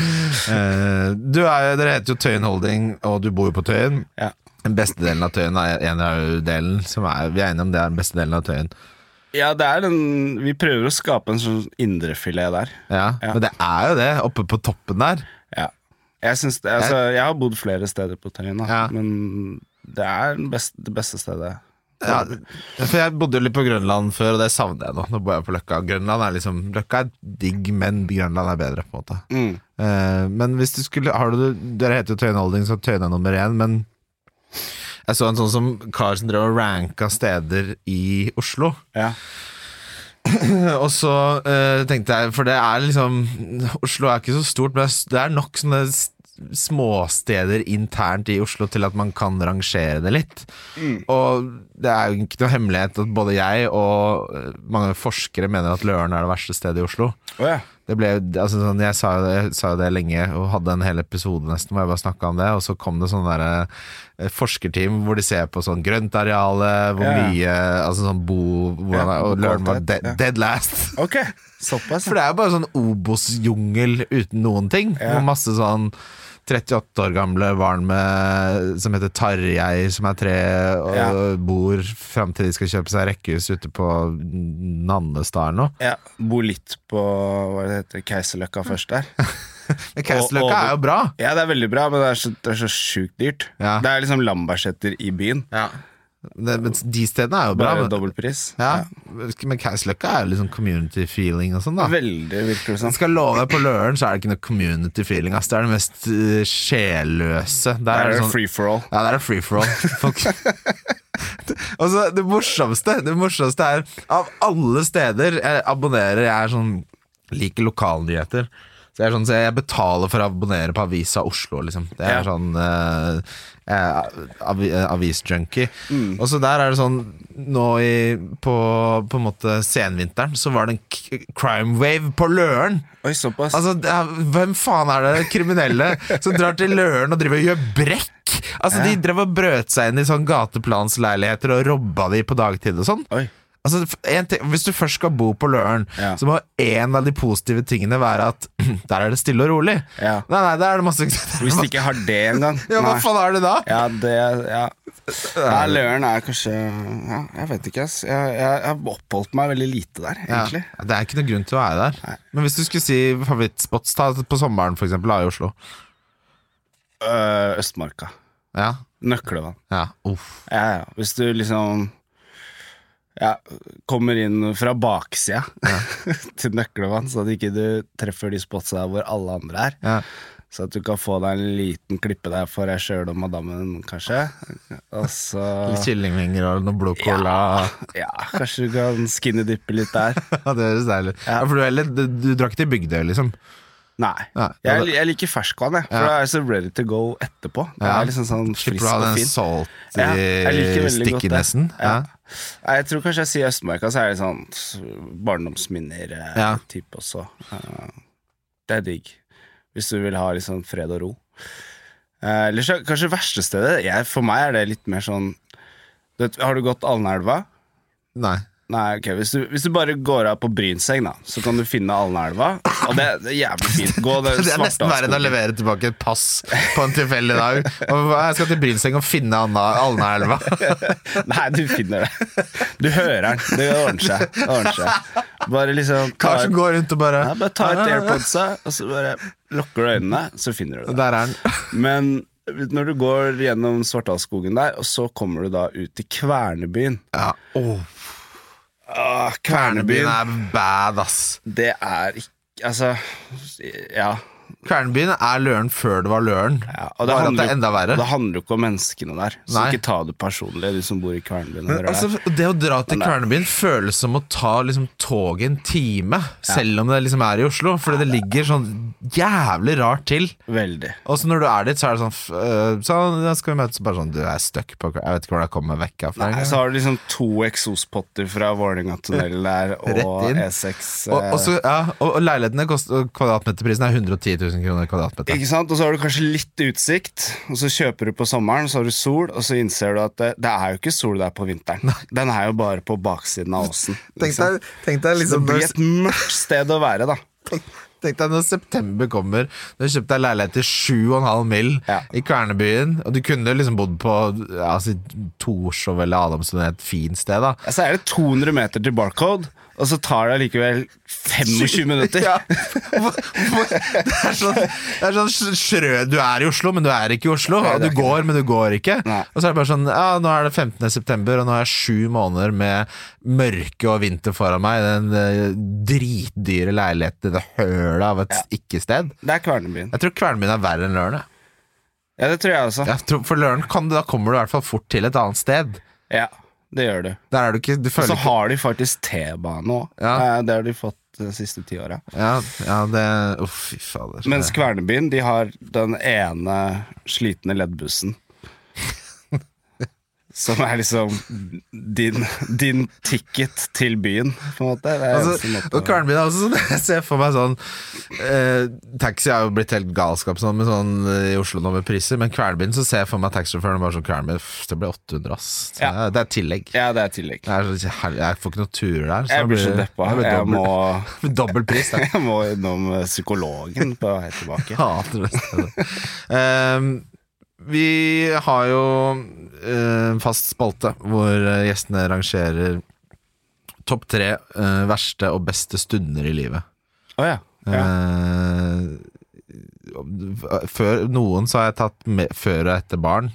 [SPEAKER 2] Eh, du er, jo- dere heter jo Tøyen Holding, og du bor jo på Tøyen.
[SPEAKER 3] ja.
[SPEAKER 2] Den beste delen av Tøyen er en av delen som er Vi er enige om det er den beste delen av Tøyen.
[SPEAKER 3] ja, det er den Vi prøver å skape en sånn indrefilet der.
[SPEAKER 2] Ja,
[SPEAKER 3] Ja.
[SPEAKER 2] Men det er jo det, oppe på toppen der.
[SPEAKER 3] Ja. Jeg, syns det, altså, jeg har bodd flere steder på Tøyen, da,
[SPEAKER 2] Ja.
[SPEAKER 3] men det er den beste, det beste stedet.
[SPEAKER 2] Ja, for jeg bodde jo litt på Grønland før, og det savner jeg nå. Nå bor jeg på Løkka. Grønland er liksom Løkka er digg, men Grønland er bedre, på en måte.
[SPEAKER 3] Mm.
[SPEAKER 2] Eh, men hvis du skulle har du, Dere heter jo Tøyen Holding, så Tøyen er nummer én, men jeg så en sånn som kar som drev og ranka steder i Oslo.
[SPEAKER 3] Ja.
[SPEAKER 2] Og så eh, tenkte jeg, for det er liksom Oslo er ikke så stort, men det er- det er nok sånne s- småsteder internt i Oslo til at man kan rangere det litt.
[SPEAKER 3] Mm.
[SPEAKER 2] Og det er jo ikke noe hemmelighet at både jeg og eh, mange forskere mener at Løren er det verste stedet i Oslo.
[SPEAKER 3] Å ja.
[SPEAKER 2] Det ble, altså sånn, jeg, sa jo det, jeg sa jo det lenge og hadde en hel episode nesten hvor jeg bare snakka om det, og så kom det sånn derre eh, forskerteam hvor de ser på sånn grøntareale, hvor
[SPEAKER 3] Ja.
[SPEAKER 2] mye Altså sånn bo hvor,
[SPEAKER 3] Ja,
[SPEAKER 2] Og Løren var
[SPEAKER 3] kvalitet,
[SPEAKER 2] de,
[SPEAKER 3] ja.
[SPEAKER 2] dead last.
[SPEAKER 3] Ok, såpass.
[SPEAKER 2] For det er jo bare sånn Obos-jungel uten noen ting.
[SPEAKER 3] Ja.
[SPEAKER 2] Og masse sånn 38 år gamle barn med, som heter Tarjei, som er tre og
[SPEAKER 3] Ja.
[SPEAKER 2] bor fram til de skal kjøpe seg rekkehus ute på Nannestad eller noe.
[SPEAKER 3] Ja, Bo litt på hva det heter, Keiserløkka først der.
[SPEAKER 2] Men Keiserløkka er jo bra!
[SPEAKER 3] Ja, det er veldig bra, men det er så, det er så sjukt dyrt.
[SPEAKER 2] Ja.
[SPEAKER 3] Det er liksom Lambertseter i byen.
[SPEAKER 2] Det, men de stedene er jo bra.
[SPEAKER 3] Bare
[SPEAKER 2] Men,
[SPEAKER 3] dobbeltpris.
[SPEAKER 2] ja. men Keiserløkka er jo liksom community feeling og sånn, da.
[SPEAKER 3] Veldig, virker det
[SPEAKER 2] Jeg
[SPEAKER 3] som.
[SPEAKER 2] skal love deg, på Løren så er det ikke noe community feeling. Ass. Det er det mest eh, sjelløse. Der
[SPEAKER 3] Er
[SPEAKER 2] er det
[SPEAKER 3] det
[SPEAKER 2] sånn
[SPEAKER 3] free for all?
[SPEAKER 2] Ja, der er free for all. Folk. Og så det morsomste Det morsomste er Av alle steder jeg abonnerer Jeg er sånn Liker lokalnyheter. Så jeg, er sånn, så jeg betaler for å abonnere på Avisa Oslo, liksom. Det er
[SPEAKER 3] Ja.
[SPEAKER 2] sånn eh, eh, avi, eh, avisjunkie. Og så der er det sånn Nå i, på, på en måte senvinteren så var det en k- crime wave på Løren.
[SPEAKER 3] Oi, såpass.
[SPEAKER 2] Altså, det er, Hvem faen er det kriminelle som drar til Løren og driver og gjør brekk? Altså, De drev og brøt seg inn i sånn gateplansleiligheter og robba de på dagtid og sånn.
[SPEAKER 3] Oi.
[SPEAKER 2] Altså, f- en ting, Hvis du først skal bo på Løren,
[SPEAKER 3] Ja.
[SPEAKER 2] så må en av de positive tingene være at der er det stille og rolig.
[SPEAKER 3] Ja.
[SPEAKER 2] Nei, nei, der er det masse, der er det
[SPEAKER 3] Hvis de
[SPEAKER 2] masse
[SPEAKER 3] ikke har det engang.
[SPEAKER 2] Ja, hva faen er det da?
[SPEAKER 3] Ja, det ja. ja, Løren er kanskje ja, Jeg vet ikke, ass. Jeg, jeg, jeg har oppholdt meg veldig lite der, egentlig.
[SPEAKER 2] Ja, det er ikke noe grunn til å være der. Men hvis du skulle si favorittspots ta på sommeren, for eksempel, da, i Oslo.
[SPEAKER 3] Øh, Østmarka.
[SPEAKER 2] Ja,
[SPEAKER 3] Nøklevann.
[SPEAKER 2] ja, uff.
[SPEAKER 3] Ja, ja. Hvis du liksom ja, kommer inn fra baksida til Nøklevann, så at ikke du treffer de spotsa hvor alle andre er.
[SPEAKER 2] Ja.
[SPEAKER 3] Så at du kan få deg en liten klippe der for deg sjøl og madammen, kanskje. Og så
[SPEAKER 2] Litt kyllingvinger og noe blodcola.
[SPEAKER 3] Ja, kanskje du kan skinnedyppe litt der.
[SPEAKER 2] Ja, det høres deilig ut. Ja. for du, er heller- du, du drar ikke til Bygdøy, liksom?
[SPEAKER 3] Nei.
[SPEAKER 2] Nei,
[SPEAKER 3] Jeg,
[SPEAKER 2] det-
[SPEAKER 3] jeg liker ferskvann, jeg. For
[SPEAKER 2] Ja.
[SPEAKER 3] da er jeg så ready to go etterpå. Det
[SPEAKER 2] Ja.
[SPEAKER 3] er liksom sånn
[SPEAKER 2] Slipper
[SPEAKER 3] frisk
[SPEAKER 2] du å ha
[SPEAKER 3] og
[SPEAKER 2] den
[SPEAKER 3] fin.
[SPEAKER 2] salt
[SPEAKER 3] Ja, jeg liker veldig
[SPEAKER 2] i
[SPEAKER 3] godt det.
[SPEAKER 2] stikkinesen?
[SPEAKER 3] Ja.
[SPEAKER 2] Ja.
[SPEAKER 3] Nei, Jeg tror kanskje jeg sier Østmarka, så er det sånn
[SPEAKER 2] Ja.
[SPEAKER 3] barndomsminner-type også. Eh, Det er digg. Hvis du vil ha litt sånn fred og ro. Eh, Eller så kanskje verste stedet jeg, For meg er det litt mer sånn du vet, Har du gått Alnaelva?
[SPEAKER 2] Nei.
[SPEAKER 3] Nei, ok, hvis du, hvis du bare går av på Brynseng, da, så kan du finne Alnaelva. Og det, det er jævlig fint. Gå den
[SPEAKER 2] Det er nesten verre enn å
[SPEAKER 3] Svartdalsskogen.
[SPEAKER 2] levere tilbake et pass på en tilfeldig dag. Og jeg skal til Brynseng og finne Anna- Alnaelva.
[SPEAKER 3] Nei, du finner det. Du hører den. Det ordner seg. Det ordner seg. Bare liksom ta,
[SPEAKER 2] Kar som går rundt og bare
[SPEAKER 3] ja, bare ta et AirPodsa, og så bare lukker du øynene, så finner du det.
[SPEAKER 2] Der er den.
[SPEAKER 3] Men når du går gjennom Svartdalsskogen der, og så kommer du da ut til Kvernebyen
[SPEAKER 2] Ja. Åh,
[SPEAKER 3] Åh,
[SPEAKER 2] Kvernebyen
[SPEAKER 3] Kvernebyen,
[SPEAKER 2] er bad, ass.
[SPEAKER 3] det er ikke Altså, ja.
[SPEAKER 2] Kvernebyen er Løren før det var Løren.
[SPEAKER 3] ja.
[SPEAKER 2] Bare at
[SPEAKER 3] handler
[SPEAKER 2] det er
[SPEAKER 3] jo-
[SPEAKER 2] enda verre.
[SPEAKER 3] Det handler jo ikke om menneskene der, så
[SPEAKER 2] Nei.
[SPEAKER 3] ikke ta det personlig, du som bor i Kvernebyen. og
[SPEAKER 2] Men
[SPEAKER 3] dere
[SPEAKER 2] altså, det å dra til
[SPEAKER 3] Men eh, det-
[SPEAKER 2] Kvernebyen føles som å ta liksom, toget en time, selv om det liksom er i Oslo. Fordi det ligger sånn jævlig rart til.
[SPEAKER 3] der. Veldig.
[SPEAKER 2] Og så når du er dit, så er det sånn f- øh, Sånn, da skal vi møtes bare sånn Du jeg er stuck på Kvernebyen. Jeg vet ikke hvordan jeg kommer meg vekk herfra.
[SPEAKER 3] Nei,
[SPEAKER 2] engang.
[SPEAKER 3] så har du liksom to eksospotter fra Vålerenga-tunnelen der og
[SPEAKER 2] Rett inn.
[SPEAKER 3] E6.
[SPEAKER 2] Og,
[SPEAKER 3] eh,
[SPEAKER 2] og, så, ja, og, og leilighetene koster og Kvadratmeterprisen er 110 000 kroner kvadratmeter.
[SPEAKER 3] eh, Ikke sant? Og så har du kanskje litt utsikt, og så kjøper du på sommeren, så har du sol, og så innser du at eh, det, det er jo ikke sol der på vinteren. Den er jo bare på baksiden av åsen. ikke sant?
[SPEAKER 2] deg
[SPEAKER 3] Så
[SPEAKER 2] liksom,
[SPEAKER 3] det blir et mørkt sted å være, da.
[SPEAKER 2] Tenk, tenk deg når september kommer Du har kjøpt deg leilighet til 7,5 mil
[SPEAKER 3] Ja.
[SPEAKER 2] I Kvernebyen Og du kunne liksom bodd på ja, si, Torshov eller Adamsen Et fint sted da
[SPEAKER 3] Ja, Så Altså, er det 200 meter til barcode, og så tar det allikevel 25 minutter.
[SPEAKER 2] Ja. Hvor- hvor- Det er sånn, det er sånn sj- sjrø Du er i Oslo, men du er ikke i Oslo
[SPEAKER 3] Nei,
[SPEAKER 2] Og
[SPEAKER 3] det
[SPEAKER 2] du
[SPEAKER 3] er ikke
[SPEAKER 2] går, men du går ikke
[SPEAKER 3] Nei.
[SPEAKER 2] Og så er det bare sånn, ja, nå er det 15. september Og nå har jeg sju måneder med mørke og vinter foran meg i Den eh, dritdyre leiligheten i Det hølet av et ikke-sted
[SPEAKER 3] Det er Kvernebyen.
[SPEAKER 2] Jeg tror Kvernebyen er verre enn lørende
[SPEAKER 3] Ja, det tror jeg også.
[SPEAKER 2] Jeg tror, for Løren kan du, da kommer du i hvert fall fort til et annet sted.
[SPEAKER 3] Ja, det gjør du.
[SPEAKER 2] Der er du ikke Du
[SPEAKER 3] Og
[SPEAKER 2] føler
[SPEAKER 3] så
[SPEAKER 2] ikke
[SPEAKER 3] har de faktisk T-bane òg.
[SPEAKER 2] Ja.
[SPEAKER 3] Det har de fått de siste ti åra.
[SPEAKER 2] ja, ja, det Uff, fy fader.
[SPEAKER 3] Mens Kvernebyen de har den ene slitne leddbussen. Som er liksom din, din ticket til byen, på en måte. Det er eneste
[SPEAKER 2] Altså,
[SPEAKER 3] måte å-
[SPEAKER 2] og Kvernbyen er også sånn Jeg ser for meg sånn eh, Taxi er jo blitt helt galskap sånn, med sånn, eh, i Oslo nå med priser, men Kvernbyen så ser jeg for meg taxisjåføren bare sånn Kvernbyen, pff, det ble 800, ass. Så
[SPEAKER 3] Ja.
[SPEAKER 2] det er- Det er tillegg.
[SPEAKER 3] Ja, det er tillegg.
[SPEAKER 2] Det er så, herlig, jeg får ikke noen turer der.
[SPEAKER 3] Jeg blir så deppa.
[SPEAKER 2] Jeg blir
[SPEAKER 3] Jeg
[SPEAKER 2] dobbel,
[SPEAKER 3] må,
[SPEAKER 2] det blir dobbel pris, da.
[SPEAKER 3] jeg må innom eh, psykologen på vei tilbake.
[SPEAKER 2] Hater det stedet. Ehm, vi har jo eh, en fast spalte hvor eh, gjestene rangerer topp tre eh, verste og beste stunder i livet.
[SPEAKER 3] Å ja. ja.
[SPEAKER 2] Eh, før, noen så har jeg tatt med, før og etter barn.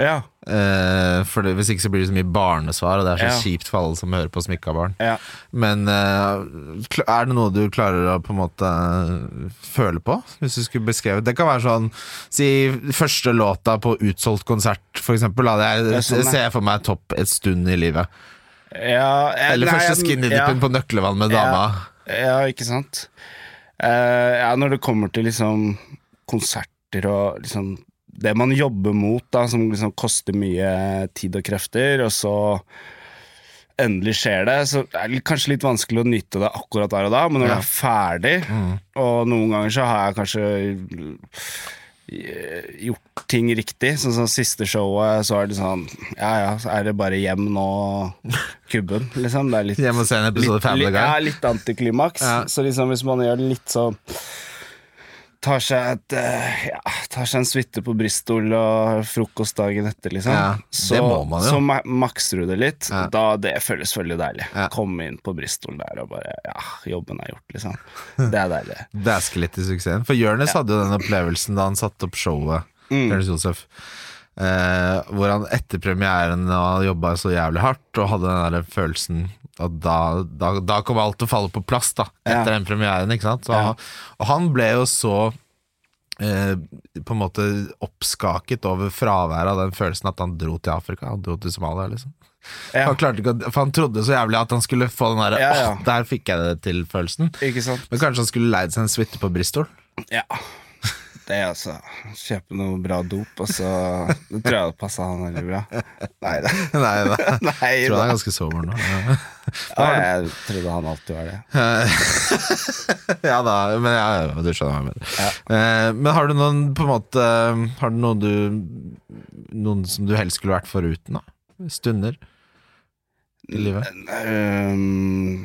[SPEAKER 3] Ja.
[SPEAKER 2] Eh, for det, Hvis ikke så blir det så mye barnesvar, og det er så
[SPEAKER 3] Ja.
[SPEAKER 2] kjipt for alle som hører på som ikke har barn.
[SPEAKER 3] ja.
[SPEAKER 2] Men eh, kl- er det noe du klarer å på en måte eh, føle på? Hvis du skulle beskrevet Det kan være sånn Si første låta på utsolgt konsert, for eksempel. Da. Det
[SPEAKER 3] Det er
[SPEAKER 2] er,
[SPEAKER 3] sånn, ja.
[SPEAKER 2] ser jeg for meg topp et stund i livet.
[SPEAKER 3] Ja, jeg-
[SPEAKER 2] Eller
[SPEAKER 3] nei,
[SPEAKER 2] første
[SPEAKER 3] jeg-
[SPEAKER 2] skinny-dippen på Nøklevann med dama.
[SPEAKER 3] Ja, ikke sant? Eh, ja, når det kommer til liksom konserter og liksom det man jobber mot, da, som liksom koster mye tid og krefter, og så endelig skjer det, så er det kanskje litt vanskelig å nyte det akkurat der og da, men når det
[SPEAKER 2] Ja. Mm.
[SPEAKER 3] er ferdig, og noen ganger så har jeg kanskje gjort ting riktig. Sånn som siste showet, så er det sånn Ja ja, så er det bare hjem nå, kubben, liksom. Det er litt
[SPEAKER 2] Hjem og se en episode
[SPEAKER 3] litt-
[SPEAKER 2] Family
[SPEAKER 3] litt-
[SPEAKER 2] Guy.
[SPEAKER 3] Ja, litt antiklimaks.
[SPEAKER 2] Ja.
[SPEAKER 3] Så liksom hvis man gjør det litt sånn Tar seg, et, eh, ja, tar seg en suite på Bristol og frokost dagen etter, liksom.
[SPEAKER 2] Ja, det
[SPEAKER 3] så,
[SPEAKER 2] må man jo.
[SPEAKER 3] så ma makser du det litt.
[SPEAKER 2] Ja.
[SPEAKER 3] Da Det føles veldig deilig.
[SPEAKER 2] Ja.
[SPEAKER 3] Komme inn på Bristol der og bare Ja, jobben er gjort, liksom. Det er deilig.
[SPEAKER 2] Dæske litt i suksessen. For Jonis hadde jo den opplevelsen da han satte opp showet.
[SPEAKER 3] Mm.
[SPEAKER 2] Jonis Josef. Eh, hvor han etter premieren og jobba så jævlig hardt og hadde den der følelsen at da, da, da kom alt til å falle på plass, da. Etter
[SPEAKER 3] Ja.
[SPEAKER 2] den premieren, ikke sant. Så,
[SPEAKER 3] Ja.
[SPEAKER 2] han- Og han ble jo så eh, på en måte oppskaket over fraværet av den følelsen at han dro til Afrika. Han dro til Somalia, liksom.
[SPEAKER 3] Ja.
[SPEAKER 2] Han klarte ikke å, For han trodde så jævlig at han skulle få den derre
[SPEAKER 3] Ja, ja.
[SPEAKER 2] Åh, der fikk jeg det til-følelsen.
[SPEAKER 3] Ikke sant?
[SPEAKER 2] Men kanskje han skulle leid seg en suite på Bristol?
[SPEAKER 3] Ja. Det er altså Kjøpe noe bra dop, og så Det tror jeg hadde passa han veldig bra. Nei da.
[SPEAKER 2] Nei, da.
[SPEAKER 3] Nei
[SPEAKER 2] Jeg tror
[SPEAKER 3] da.
[SPEAKER 2] han er ganske sober nå.
[SPEAKER 3] Ja, jeg trodde han alltid var det.
[SPEAKER 2] ja da, men ja, ja, du skjønner hva jeg mener. Eh, men har du noen på en måte Har du noen du Noen som du helst skulle vært foruten, da? Stunder i livet?
[SPEAKER 3] Ehm,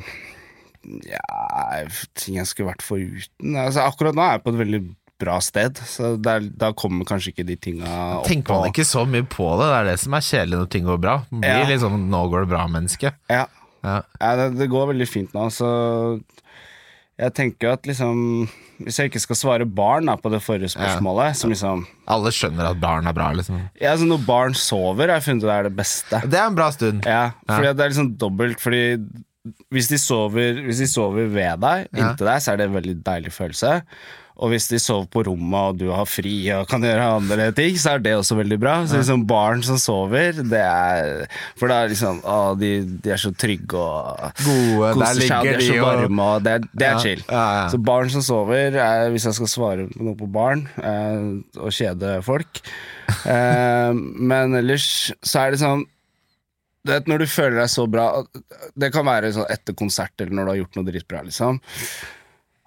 [SPEAKER 3] ja, ting jeg skulle vært foruten altså, Akkurat nå er jeg på et veldig bra sted, så der, da kommer kanskje ikke de tinga opp.
[SPEAKER 2] Tenker man
[SPEAKER 3] og-
[SPEAKER 2] ikke så mye på det? Det er det som er kjedelig når ting går bra. Man blir
[SPEAKER 3] Ja.
[SPEAKER 2] litt sånn 'nå går det bra'-menneske.
[SPEAKER 3] Ja.
[SPEAKER 2] Ja.
[SPEAKER 3] Ja, det, det går veldig fint nå, så jeg tenker at liksom Hvis jeg ikke skal svare barn da, på det forrige spørsmålet, som liksom
[SPEAKER 2] Alle skjønner at barn er bra, liksom.
[SPEAKER 3] Ja, altså Når barn sover, har jeg funnet ut det er det beste.
[SPEAKER 2] Det er en bra stund.
[SPEAKER 3] Ja, fordi at Det er liksom dobbelt. Fordi hvis de sover, hvis de sover ved deg, inntil deg, så er det en veldig deilig følelse. Og hvis de sover på rommet, og du har fri og kan gjøre andre ting, så er det også veldig bra. Så liksom barn som sover, det er For da er liksom Å, de, de er så trygge og
[SPEAKER 2] Gode, der
[SPEAKER 3] koser seg, og de er
[SPEAKER 2] ligger de
[SPEAKER 3] så
[SPEAKER 2] og-
[SPEAKER 3] varme, og det er, det er
[SPEAKER 2] Ja,
[SPEAKER 3] chill.
[SPEAKER 2] ja, ja.
[SPEAKER 3] Så barn som sover, eh, hvis jeg skal svare på noe på barn, eh, og kjede folk. Eh, men ellers så er det sånn du vet, Når du føler deg så bra Det kan være sånn etter konsert eller når du har gjort noe dritbra. liksom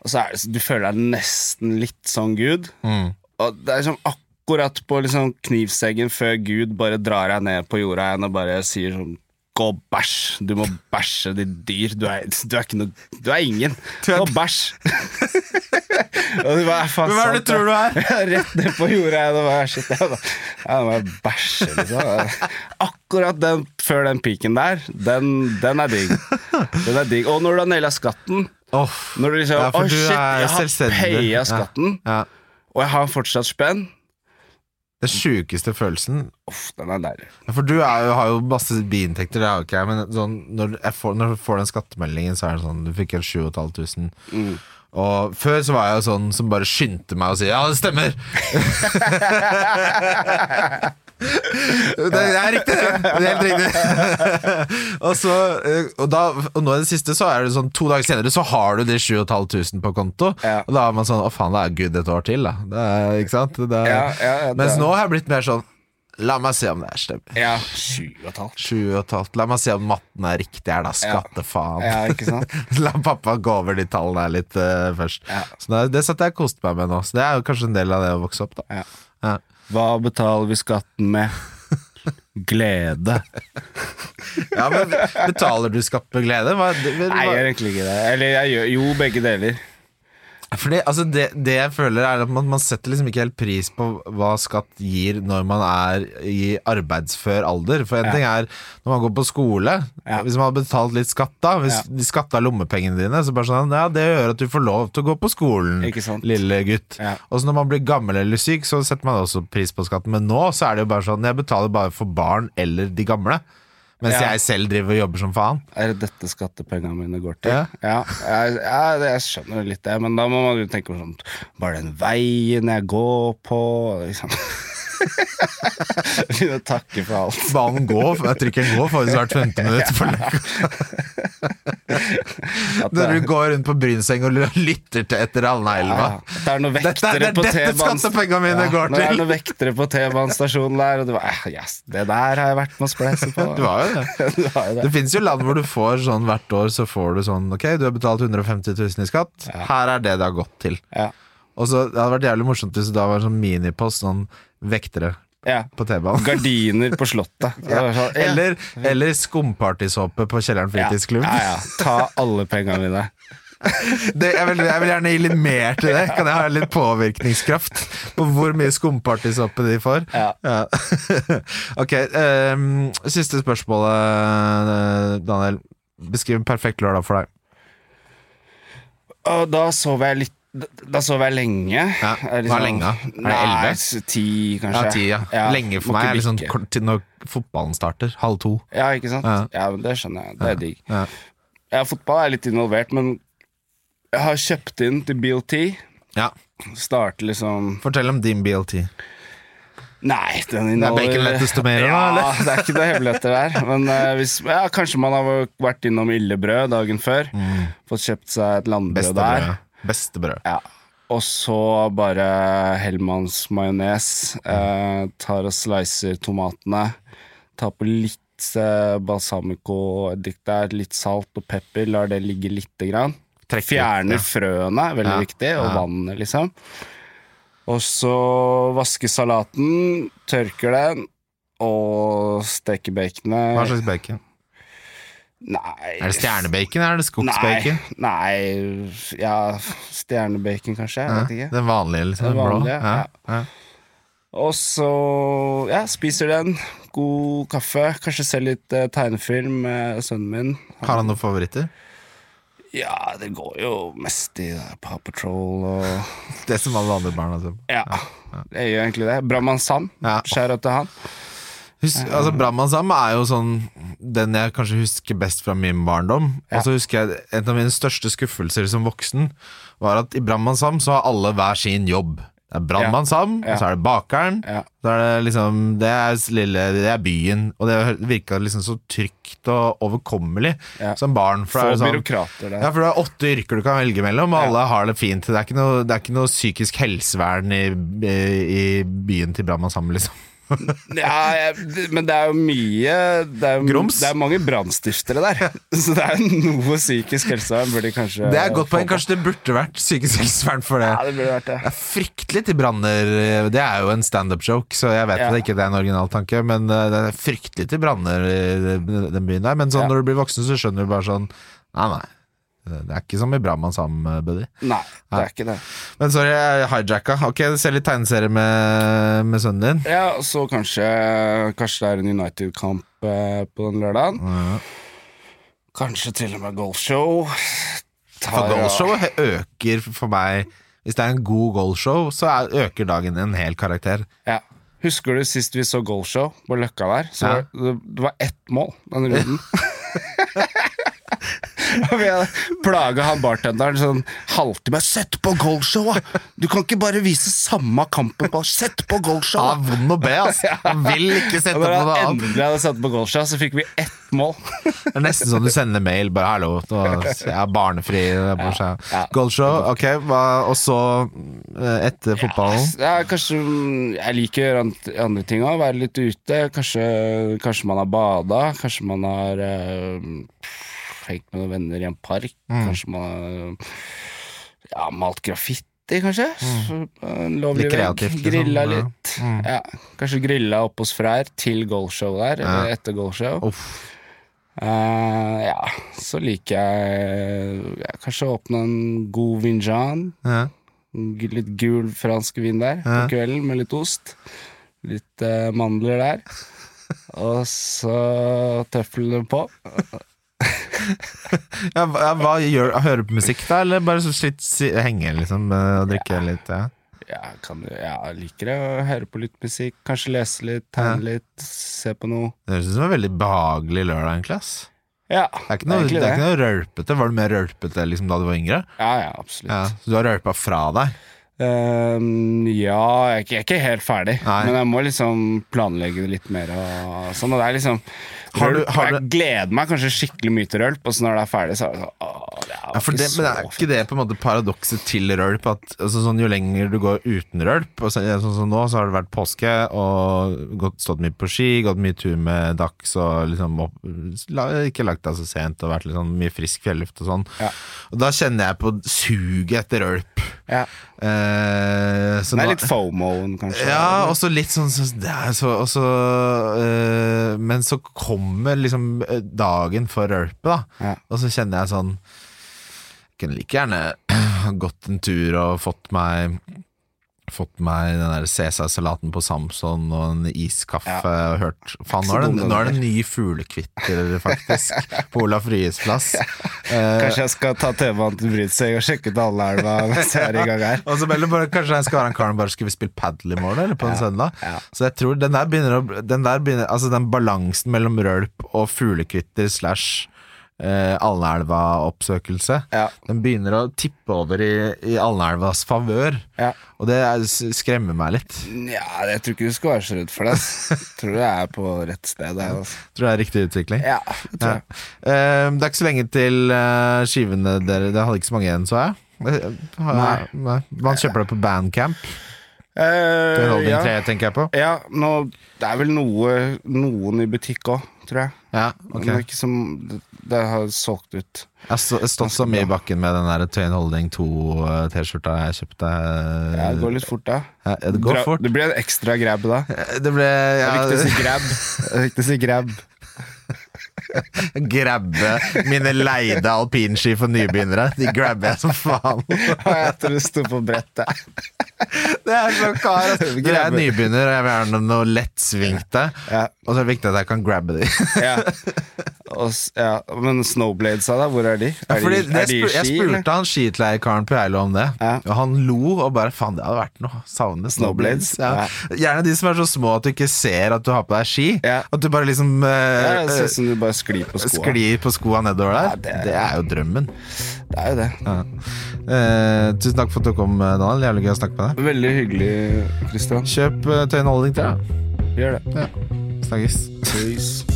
[SPEAKER 3] Og så er det, så- Du føler deg nesten litt sånn som Gud.
[SPEAKER 2] Mm.
[SPEAKER 3] Og det er sånn akkurat på liksom knivseggen før Gud bare drar deg ned på jorda igjen og bare sier sånn Gå og bæsj! Du må bæsje, ditt dyr. Du er, du er ikke noe Du er ingen.
[SPEAKER 2] Du er-
[SPEAKER 3] Gå og bæsj! og du bare, faen,
[SPEAKER 2] Men hva er
[SPEAKER 3] sant,
[SPEAKER 2] det du tror du er?
[SPEAKER 3] ja, Rett ned på jorda igjen og bare shit, jeg da- jeg må bæsje, liksom. Akkurat den før den piken der, den, den er digg. Den er digg. Og når du har naila skatten
[SPEAKER 2] Åh.
[SPEAKER 3] Når du liksom
[SPEAKER 2] Ja, for
[SPEAKER 3] Å,
[SPEAKER 2] du
[SPEAKER 3] shit,
[SPEAKER 2] er
[SPEAKER 3] jeg har
[SPEAKER 2] selvstendig. Ja.
[SPEAKER 3] paya skatten,
[SPEAKER 2] Ja.
[SPEAKER 3] og jeg har fortsatt spenn.
[SPEAKER 2] Den sjukeste følelsen
[SPEAKER 3] Uff, den er deilig.
[SPEAKER 2] Ja, For du er jo, har jo masse biinntekter, det har jo ikke jeg, men sånn, når, jeg får, når du får den skattemeldingen, så er det sånn du fikk en 7500.
[SPEAKER 3] Mm.
[SPEAKER 2] Og før så var jeg jo sånn som bare skyndte meg å si 'ja, det stemmer'! det er riktig, det! Det er Helt riktig. og, så, eh, og, da, og nå i det siste, så er det sånn to dager senere så har du de 7500 på konto.
[SPEAKER 3] Ja.
[SPEAKER 2] Og da er man sånn 'å faen, det er good et år til', da. Det er, ikke sant? Det er,
[SPEAKER 3] Ja, ja, ja,
[SPEAKER 2] mens
[SPEAKER 3] det-
[SPEAKER 2] nå har jeg blitt mer sånn La meg se om det her stemmer.
[SPEAKER 3] Ja, sju og et halvt.
[SPEAKER 2] Sju og et halvt. La meg se om matten er riktig her, da. Skattefaen.
[SPEAKER 3] Ja, ikke sant?
[SPEAKER 2] La pappa gå over de tallene her litt eh, først.
[SPEAKER 3] Ja.
[SPEAKER 2] Så det, det satt jeg og koste meg med nå. Så det er jo kanskje en del av det å vokse opp, da.
[SPEAKER 3] Ja.
[SPEAKER 2] Ja.
[SPEAKER 3] Hva betaler vi skatten med? Glede.
[SPEAKER 2] Ja, men Betaler du skatt med glede? Hva, det, men,
[SPEAKER 3] Nei, jeg
[SPEAKER 2] hva,
[SPEAKER 3] gjør egentlig ikke det. Eller jeg gjør jo begge deler.
[SPEAKER 2] fordi, altså, det, det jeg føler, er at man, man setter liksom ikke helt pris på hva skatt gir når man er i arbeidsfør alder. For en ting er når man går på skole.
[SPEAKER 3] Ja.
[SPEAKER 2] Hvis man hadde betalt litt skatt da, hvis
[SPEAKER 3] Ja.
[SPEAKER 2] de skatta lommepengene dine, så bare sånn Ja, det gjør at du får lov til å gå på skolen,
[SPEAKER 3] Ikke sant?
[SPEAKER 2] lille gutt.
[SPEAKER 3] Ja.
[SPEAKER 2] Og så når man blir gammel eller syk, så setter man også pris på skatten. Men nå så er det jo bare sånn Jeg betaler bare for barn eller de gamle. Mens
[SPEAKER 3] Ja.
[SPEAKER 2] jeg selv driver og jobber som faen.
[SPEAKER 3] Er det dette skattepengene mine går til?
[SPEAKER 2] Ja.
[SPEAKER 3] jeg, ja, det- jeg skjønner litt det, men da må man jo tenke på sånn Var det den veien jeg går på? Liksom. Begynne å takke for alt.
[SPEAKER 2] Banen går, for- jeg trykker den går faktisk hvert 15 minutt. For
[SPEAKER 3] At
[SPEAKER 2] når du
[SPEAKER 3] det,
[SPEAKER 2] går rundt på Brynseng og lytter til etter
[SPEAKER 3] ja,
[SPEAKER 2] Alneelva.
[SPEAKER 3] at det er noen
[SPEAKER 2] Dette er
[SPEAKER 3] vektere
[SPEAKER 2] det
[SPEAKER 3] på
[SPEAKER 2] dette
[SPEAKER 3] T-banen
[SPEAKER 2] skattepengene mine
[SPEAKER 3] Ja,
[SPEAKER 2] går
[SPEAKER 3] Når det er
[SPEAKER 2] til!
[SPEAKER 3] noen vektere på T-banestasjonen der, og du bare eh, yes, Det der har jeg vært med å spleise på.
[SPEAKER 2] Du har jo det.
[SPEAKER 3] Du har jo det.
[SPEAKER 2] Det fins jo land hvor du får sånn hvert år, så får du sånn Ok, du har betalt 150 000 i skatt, her er det det har gått til.
[SPEAKER 3] Ja.
[SPEAKER 2] Og så Det hadde vært jævlig morsomt hvis det da var en sånn minipost, sånn vektere
[SPEAKER 3] ja.
[SPEAKER 2] på T-banen.
[SPEAKER 3] Gardiner på Slottet. Det var sånn, ja.
[SPEAKER 2] Eller, eller skumpartysåpe på Kjelleren fritidsklubb.
[SPEAKER 3] Ja, ja, ja. Ta alle pengene mine.
[SPEAKER 2] Det, jeg, vil, jeg vil gjerne gi litt mer til det. Kan jeg ha litt påvirkningskraft på hvor mye skumpartysåpe de får?
[SPEAKER 3] Ja.
[SPEAKER 2] ok, ehm, siste spørsmålet, eh, Daniel. Beskriv en perfekt lørdag for deg.
[SPEAKER 3] Og da sov jeg litt da sov jeg lenge.
[SPEAKER 2] Ja,
[SPEAKER 3] Jeg
[SPEAKER 2] hva er lenge? Er det elleve?
[SPEAKER 3] Nei, s- ti, kanskje.
[SPEAKER 2] Lenge for
[SPEAKER 3] må
[SPEAKER 2] meg
[SPEAKER 3] ikke
[SPEAKER 2] er liksom
[SPEAKER 3] bikke.
[SPEAKER 2] kort til når fotballen starter. Halv to.
[SPEAKER 3] Ja, ikke sant?
[SPEAKER 2] Ja.
[SPEAKER 3] Ja. men Det skjønner jeg. Det er digg.
[SPEAKER 2] Ja.
[SPEAKER 3] Ja, fotball er litt involvert, men jeg har kjøpt inn til BLT.
[SPEAKER 2] Ja.
[SPEAKER 3] Starter liksom
[SPEAKER 2] Fortell om din BLT.
[SPEAKER 3] Nei, den inneholder
[SPEAKER 2] bacon, lettuce, tomato,
[SPEAKER 3] ja,
[SPEAKER 2] da, eller?
[SPEAKER 3] det er ikke noe hemmeligheter der. Men eh, hvis, ja, kanskje man har vært innom Illebrød dagen før. Fått kjøpt seg et landbrød
[SPEAKER 2] Mm. Beste
[SPEAKER 3] der.
[SPEAKER 2] brød. Beste brød.
[SPEAKER 3] Ja. Og så bare Hellmanns majones. Eh, tar og slicer tomatene. Tar på litt eh, balsamicoeddik der, litt salt og pepper. Lar det ligge lite grann.
[SPEAKER 2] Trekker litt,
[SPEAKER 3] Fjerner
[SPEAKER 2] ja.
[SPEAKER 3] frøene, veldig
[SPEAKER 2] Ja,
[SPEAKER 3] viktig, og
[SPEAKER 2] ja.
[SPEAKER 3] vannet, liksom. Og så vaske salaten, tørker den, og steker baconet.
[SPEAKER 2] Hva slags bacon?
[SPEAKER 3] Nei
[SPEAKER 2] Er det stjernebacon eller er det
[SPEAKER 3] Nei,
[SPEAKER 2] skogsbacon?
[SPEAKER 3] nei Ja, stjernebacon, kanskje. Jeg
[SPEAKER 2] Ja,
[SPEAKER 3] vet ikke.
[SPEAKER 2] den vanlige, liksom.
[SPEAKER 3] Den
[SPEAKER 2] Den blå.
[SPEAKER 3] vanlige,
[SPEAKER 2] Ja,
[SPEAKER 3] ja.
[SPEAKER 2] ja.
[SPEAKER 3] Og så ja, spiser den. God kaffe. Kanskje ser litt eh, tegnefilm med sønnen min.
[SPEAKER 2] Har han noen favoritter?
[SPEAKER 3] Ja, det går jo mest i det der Paw Patrol og
[SPEAKER 2] Det som alle andre barn har sett på.
[SPEAKER 3] Ja, det gjør egentlig det. Brahman Sand.
[SPEAKER 2] Ja.
[SPEAKER 3] Skjær opp til han.
[SPEAKER 2] Husk, altså Brannmann Sam er jo sånn den jeg kanskje husker best fra min barndom. Og så husker jeg En av mine største skuffelser som voksen var at i Brannmann Sam så har alle hver sin jobb. Det er Brannmann Sam,
[SPEAKER 3] Ja.
[SPEAKER 2] så er det bakeren,
[SPEAKER 3] Ja.
[SPEAKER 2] så er det liksom Det er, s- lille, det er byen. Og det virka liksom så trygt og overkommelig
[SPEAKER 3] Ja.
[SPEAKER 2] som barn. For
[SPEAKER 3] Få
[SPEAKER 2] det er jo sånn,
[SPEAKER 3] byråkrater der.
[SPEAKER 2] Ja, for du har åtte yrker du kan velge mellom, og alle har det fint. Det er ikke noe, det er ikke noe psykisk helsevern i, i byen til Brahman sammen, liksom.
[SPEAKER 3] Ja, jeg, men det er jo mye Det er, jo-
[SPEAKER 2] Grums?
[SPEAKER 3] Det er mange brannstiftere der. Så det er noe psykisk helsevern burde de kanskje
[SPEAKER 2] Det er et godt
[SPEAKER 3] få
[SPEAKER 2] poeng. Kanskje det burde vært psykisk helsevern for det.
[SPEAKER 3] Ja, det burde vært det.
[SPEAKER 2] Jeg er fryktelig til branner. Det er jo en standup-joke, så jeg vet
[SPEAKER 3] Ja.
[SPEAKER 2] at det ikke er en original tanke, men eh, det er fryktelig til branner i den- den byen der. Men sånn,
[SPEAKER 3] Ja.
[SPEAKER 2] når du blir voksen, så skjønner du bare sånn Nei, nei. Det er ikke som i Brahman Sam, buddy.
[SPEAKER 3] Nei, det er ikke det.
[SPEAKER 2] Men sorry, jeg hijacka. Ok, se litt tegneserie med, med sønnen din.
[SPEAKER 3] Ja, og så kanskje Kanskje det er en United-kamp eh, på den lørdagen. Kanskje til og med goalshow.
[SPEAKER 2] For
[SPEAKER 3] Tar-
[SPEAKER 2] goalshowet øker for meg Hvis det er en god goalshow, så er, øker dagen en hel karakter.
[SPEAKER 3] Ja. Husker du sist vi så goalshow på Løkka der? Så
[SPEAKER 2] Ja.
[SPEAKER 3] var det, det var ett mål den runden. Og jeg plaga han bartenderen sånn halvtime. 'Sett på goalshowa! Du kan ikke bare vise samme kampen på Sett på
[SPEAKER 2] Han er
[SPEAKER 3] goalshowa!'
[SPEAKER 2] vond å be, ass. Han vil ikke sette
[SPEAKER 3] Og
[SPEAKER 2] på
[SPEAKER 3] da
[SPEAKER 2] noe
[SPEAKER 3] han
[SPEAKER 2] annet.
[SPEAKER 3] endelig hadde satt på goalshowa, så fikk vi ett mål.
[SPEAKER 2] Det er nesten som du sender mail, bare 'hallo, nå jeg er barnefri'. Ja,
[SPEAKER 3] ja.
[SPEAKER 2] Goldshow, ok. Hva, og så eh, etter fotballen?
[SPEAKER 3] Ja, kanskje mm, Jeg liker an- andre ting òg. Være litt ute. Kanskje, kanskje man har bada. Kanskje man har eh, hengt med noen venner i en park.
[SPEAKER 2] Mm.
[SPEAKER 3] Kanskje man har ja, malt graffiti, kanskje. Så, eh, En lovlig
[SPEAKER 2] Mm. Litt kreativt,
[SPEAKER 3] vegg.
[SPEAKER 2] liksom,
[SPEAKER 3] Grilla
[SPEAKER 2] ja. Mm.
[SPEAKER 3] litt. Ja. Kanskje grilla oppe hos Freyr til goalshow der, eller etter goalshow.
[SPEAKER 2] Uff.
[SPEAKER 3] Eh, ja, så liker jeg ja, kanskje åpne en god vinjan.
[SPEAKER 2] Ja.
[SPEAKER 3] Gu- Litt gul fransk vin der på
[SPEAKER 2] Ja.
[SPEAKER 3] kvelden med litt ost. Litt eh, mandler der. Og så tøflene på.
[SPEAKER 2] Ja, hva, ja, hva gjør, hører du på musikk da, eller bare så litt si- henge liksom, eh, og drikke litt? Ja.
[SPEAKER 3] Ja, kan, du- ja, jeg liker å høre på litt musikk. Kanskje lese litt, tegne litt, se på noe.
[SPEAKER 2] Det høres ut som en veldig behagelig lørdag, egentlig. ass.
[SPEAKER 3] Ja,
[SPEAKER 2] Det er ikke noe, det
[SPEAKER 3] egentlig
[SPEAKER 2] er ikke noe rølpete. Var du mer rølpete liksom, da du var yngre?
[SPEAKER 3] Ja, ja, absolutt.
[SPEAKER 2] Ja,
[SPEAKER 3] Ja,
[SPEAKER 2] så du har rølpa fra deg?
[SPEAKER 3] ja jeg, er ikke- jeg er ikke helt ferdig,
[SPEAKER 2] Nei.
[SPEAKER 3] men jeg må liksom planlegge det litt mer. Og sånn, og det er liksom
[SPEAKER 2] Har du-
[SPEAKER 3] rølp,
[SPEAKER 2] har
[SPEAKER 3] Jeg gleder meg kanskje skikkelig mye til rølp, og så når det er ferdig, så er det sånn åh, det er
[SPEAKER 2] Ja, for
[SPEAKER 3] ikke
[SPEAKER 2] det, men
[SPEAKER 3] så
[SPEAKER 2] er ikke det på en måte paradokset til rølp? At altså, sånn, Jo lenger du går uten rølp og så, Sånn som nå, så har det vært påske og gått, stått mye på ski, gått mye tur med Dax og liksom opp, la, ikke lagt deg så sent og vært litt sånn mye frisk fjelluft og sånn.
[SPEAKER 3] Ja.
[SPEAKER 2] Og da kjenner jeg på suget etter rølp.
[SPEAKER 3] Ja.
[SPEAKER 2] Eh, så
[SPEAKER 3] Det er
[SPEAKER 2] nå-
[SPEAKER 3] litt FOMO-en, kanskje.
[SPEAKER 2] Ja, og så litt sånn så, det er så, og så, øh, Men så kommer liksom øh, dagen for rølpe, da.
[SPEAKER 3] Ja.
[SPEAKER 2] Og så kjenner jeg sånn Jeg kunne like gjerne ha gått en tur og fått meg Fått meg den der Cæsar-salaten på Samson og en iskaffe og hørt Faen, nå er,
[SPEAKER 3] dum,
[SPEAKER 2] det,
[SPEAKER 3] den
[SPEAKER 2] nå er det en ny fuglekvitter, faktisk, på Olaf Ryes plass. Eh,
[SPEAKER 3] Kanskje jeg skal ta TV-en til Brydseg og sjekke ut Alelva mens jeg er i gang her.
[SPEAKER 2] Og så melder bare, Kanskje jeg skal være han karen bare skulle spille padel i morgen, eller på en søndag.
[SPEAKER 3] ja.
[SPEAKER 2] Så jeg tror den der begynner å Den der begynner Altså den balansen mellom rølp og fuglekvitter slash eh, Alneelva-oppsøkelse,
[SPEAKER 3] Ja.
[SPEAKER 2] den begynner å tippe over i, i Alneelvas favør.
[SPEAKER 3] Ja.
[SPEAKER 2] Og det er, skremmer meg litt.
[SPEAKER 3] Nja, jeg tror ikke du skal være så redd for det. ass. Tror du jeg er på rett sted her, altså.
[SPEAKER 2] Tror det er riktig utvikling.
[SPEAKER 3] Ja, det tror jeg.
[SPEAKER 2] Eh, det er ikke så lenge til eh, skivene dere Det hadde ikke så mange igjen, så jeg. Eh, har jeg- nei. Man kjøper det på Bandcamp.
[SPEAKER 3] Eh,
[SPEAKER 2] Holding
[SPEAKER 3] ja.
[SPEAKER 2] 3, tenker jeg på.
[SPEAKER 3] ja, nå Det er vel noe, noen i butikk òg, tror jeg.
[SPEAKER 2] Ja,
[SPEAKER 3] Men
[SPEAKER 2] ok
[SPEAKER 3] Det er ikke som det, det har solgt ut.
[SPEAKER 2] Jeg har stå- stått så mye i bakken med den der Tøyen Holding 2-T-skjorta jeg kjøpte. eh,
[SPEAKER 3] Ja, det går litt fort, da.
[SPEAKER 2] Ja, det går
[SPEAKER 3] Dra-
[SPEAKER 2] fort.
[SPEAKER 3] Det blir en ekstra grab da. Det
[SPEAKER 2] Det ble ja,
[SPEAKER 3] er viktig å si grab. Det er viktig å si grab.
[SPEAKER 2] Grabbe mine leide alpinski for nybegynnere. De grabber jeg som faen.
[SPEAKER 3] Og jeg tror det sto på brettet.
[SPEAKER 2] Det er så kar ass. Når jeg er nybegynner og jeg vil gjerne noe lettsvingte,
[SPEAKER 3] Ja.
[SPEAKER 2] og så er det viktig at jeg kan grabbe de.
[SPEAKER 3] ja. Og, s- ja. Men Snowbladesa, da? Hvor er de?
[SPEAKER 2] Ja,
[SPEAKER 3] Er
[SPEAKER 2] fordi
[SPEAKER 3] de, er
[SPEAKER 2] det
[SPEAKER 3] de i
[SPEAKER 2] spur, jeg
[SPEAKER 3] ski? eller?
[SPEAKER 2] spurte han skitleierkaren på Geilo om det,
[SPEAKER 3] Ja.
[SPEAKER 2] og han lo og bare faen, det hadde vært noe. Savner snowblades.
[SPEAKER 3] Snowblades,
[SPEAKER 2] Ja. Gjerne de som er så små at du ikke ser at du har på deg ski.
[SPEAKER 3] Ja.
[SPEAKER 2] At du bare liksom
[SPEAKER 3] Ja,
[SPEAKER 2] eh,
[SPEAKER 3] det ser ut som du bare sklir på skoa.
[SPEAKER 2] sklir på skoa nedover der.
[SPEAKER 3] Ja,
[SPEAKER 2] det...
[SPEAKER 3] det-
[SPEAKER 2] er jo drømmen.
[SPEAKER 3] Det er jo det.
[SPEAKER 2] Ja. Eh, tusen takk for at du kom, Daniel. Jævlig gøy å snakke med deg. eh,
[SPEAKER 3] Veldig hyggelig, Christian.
[SPEAKER 2] Kjøp uh, Tøyen Holding til deg.
[SPEAKER 3] Gjør det.
[SPEAKER 2] Snakkes.
[SPEAKER 3] Peace.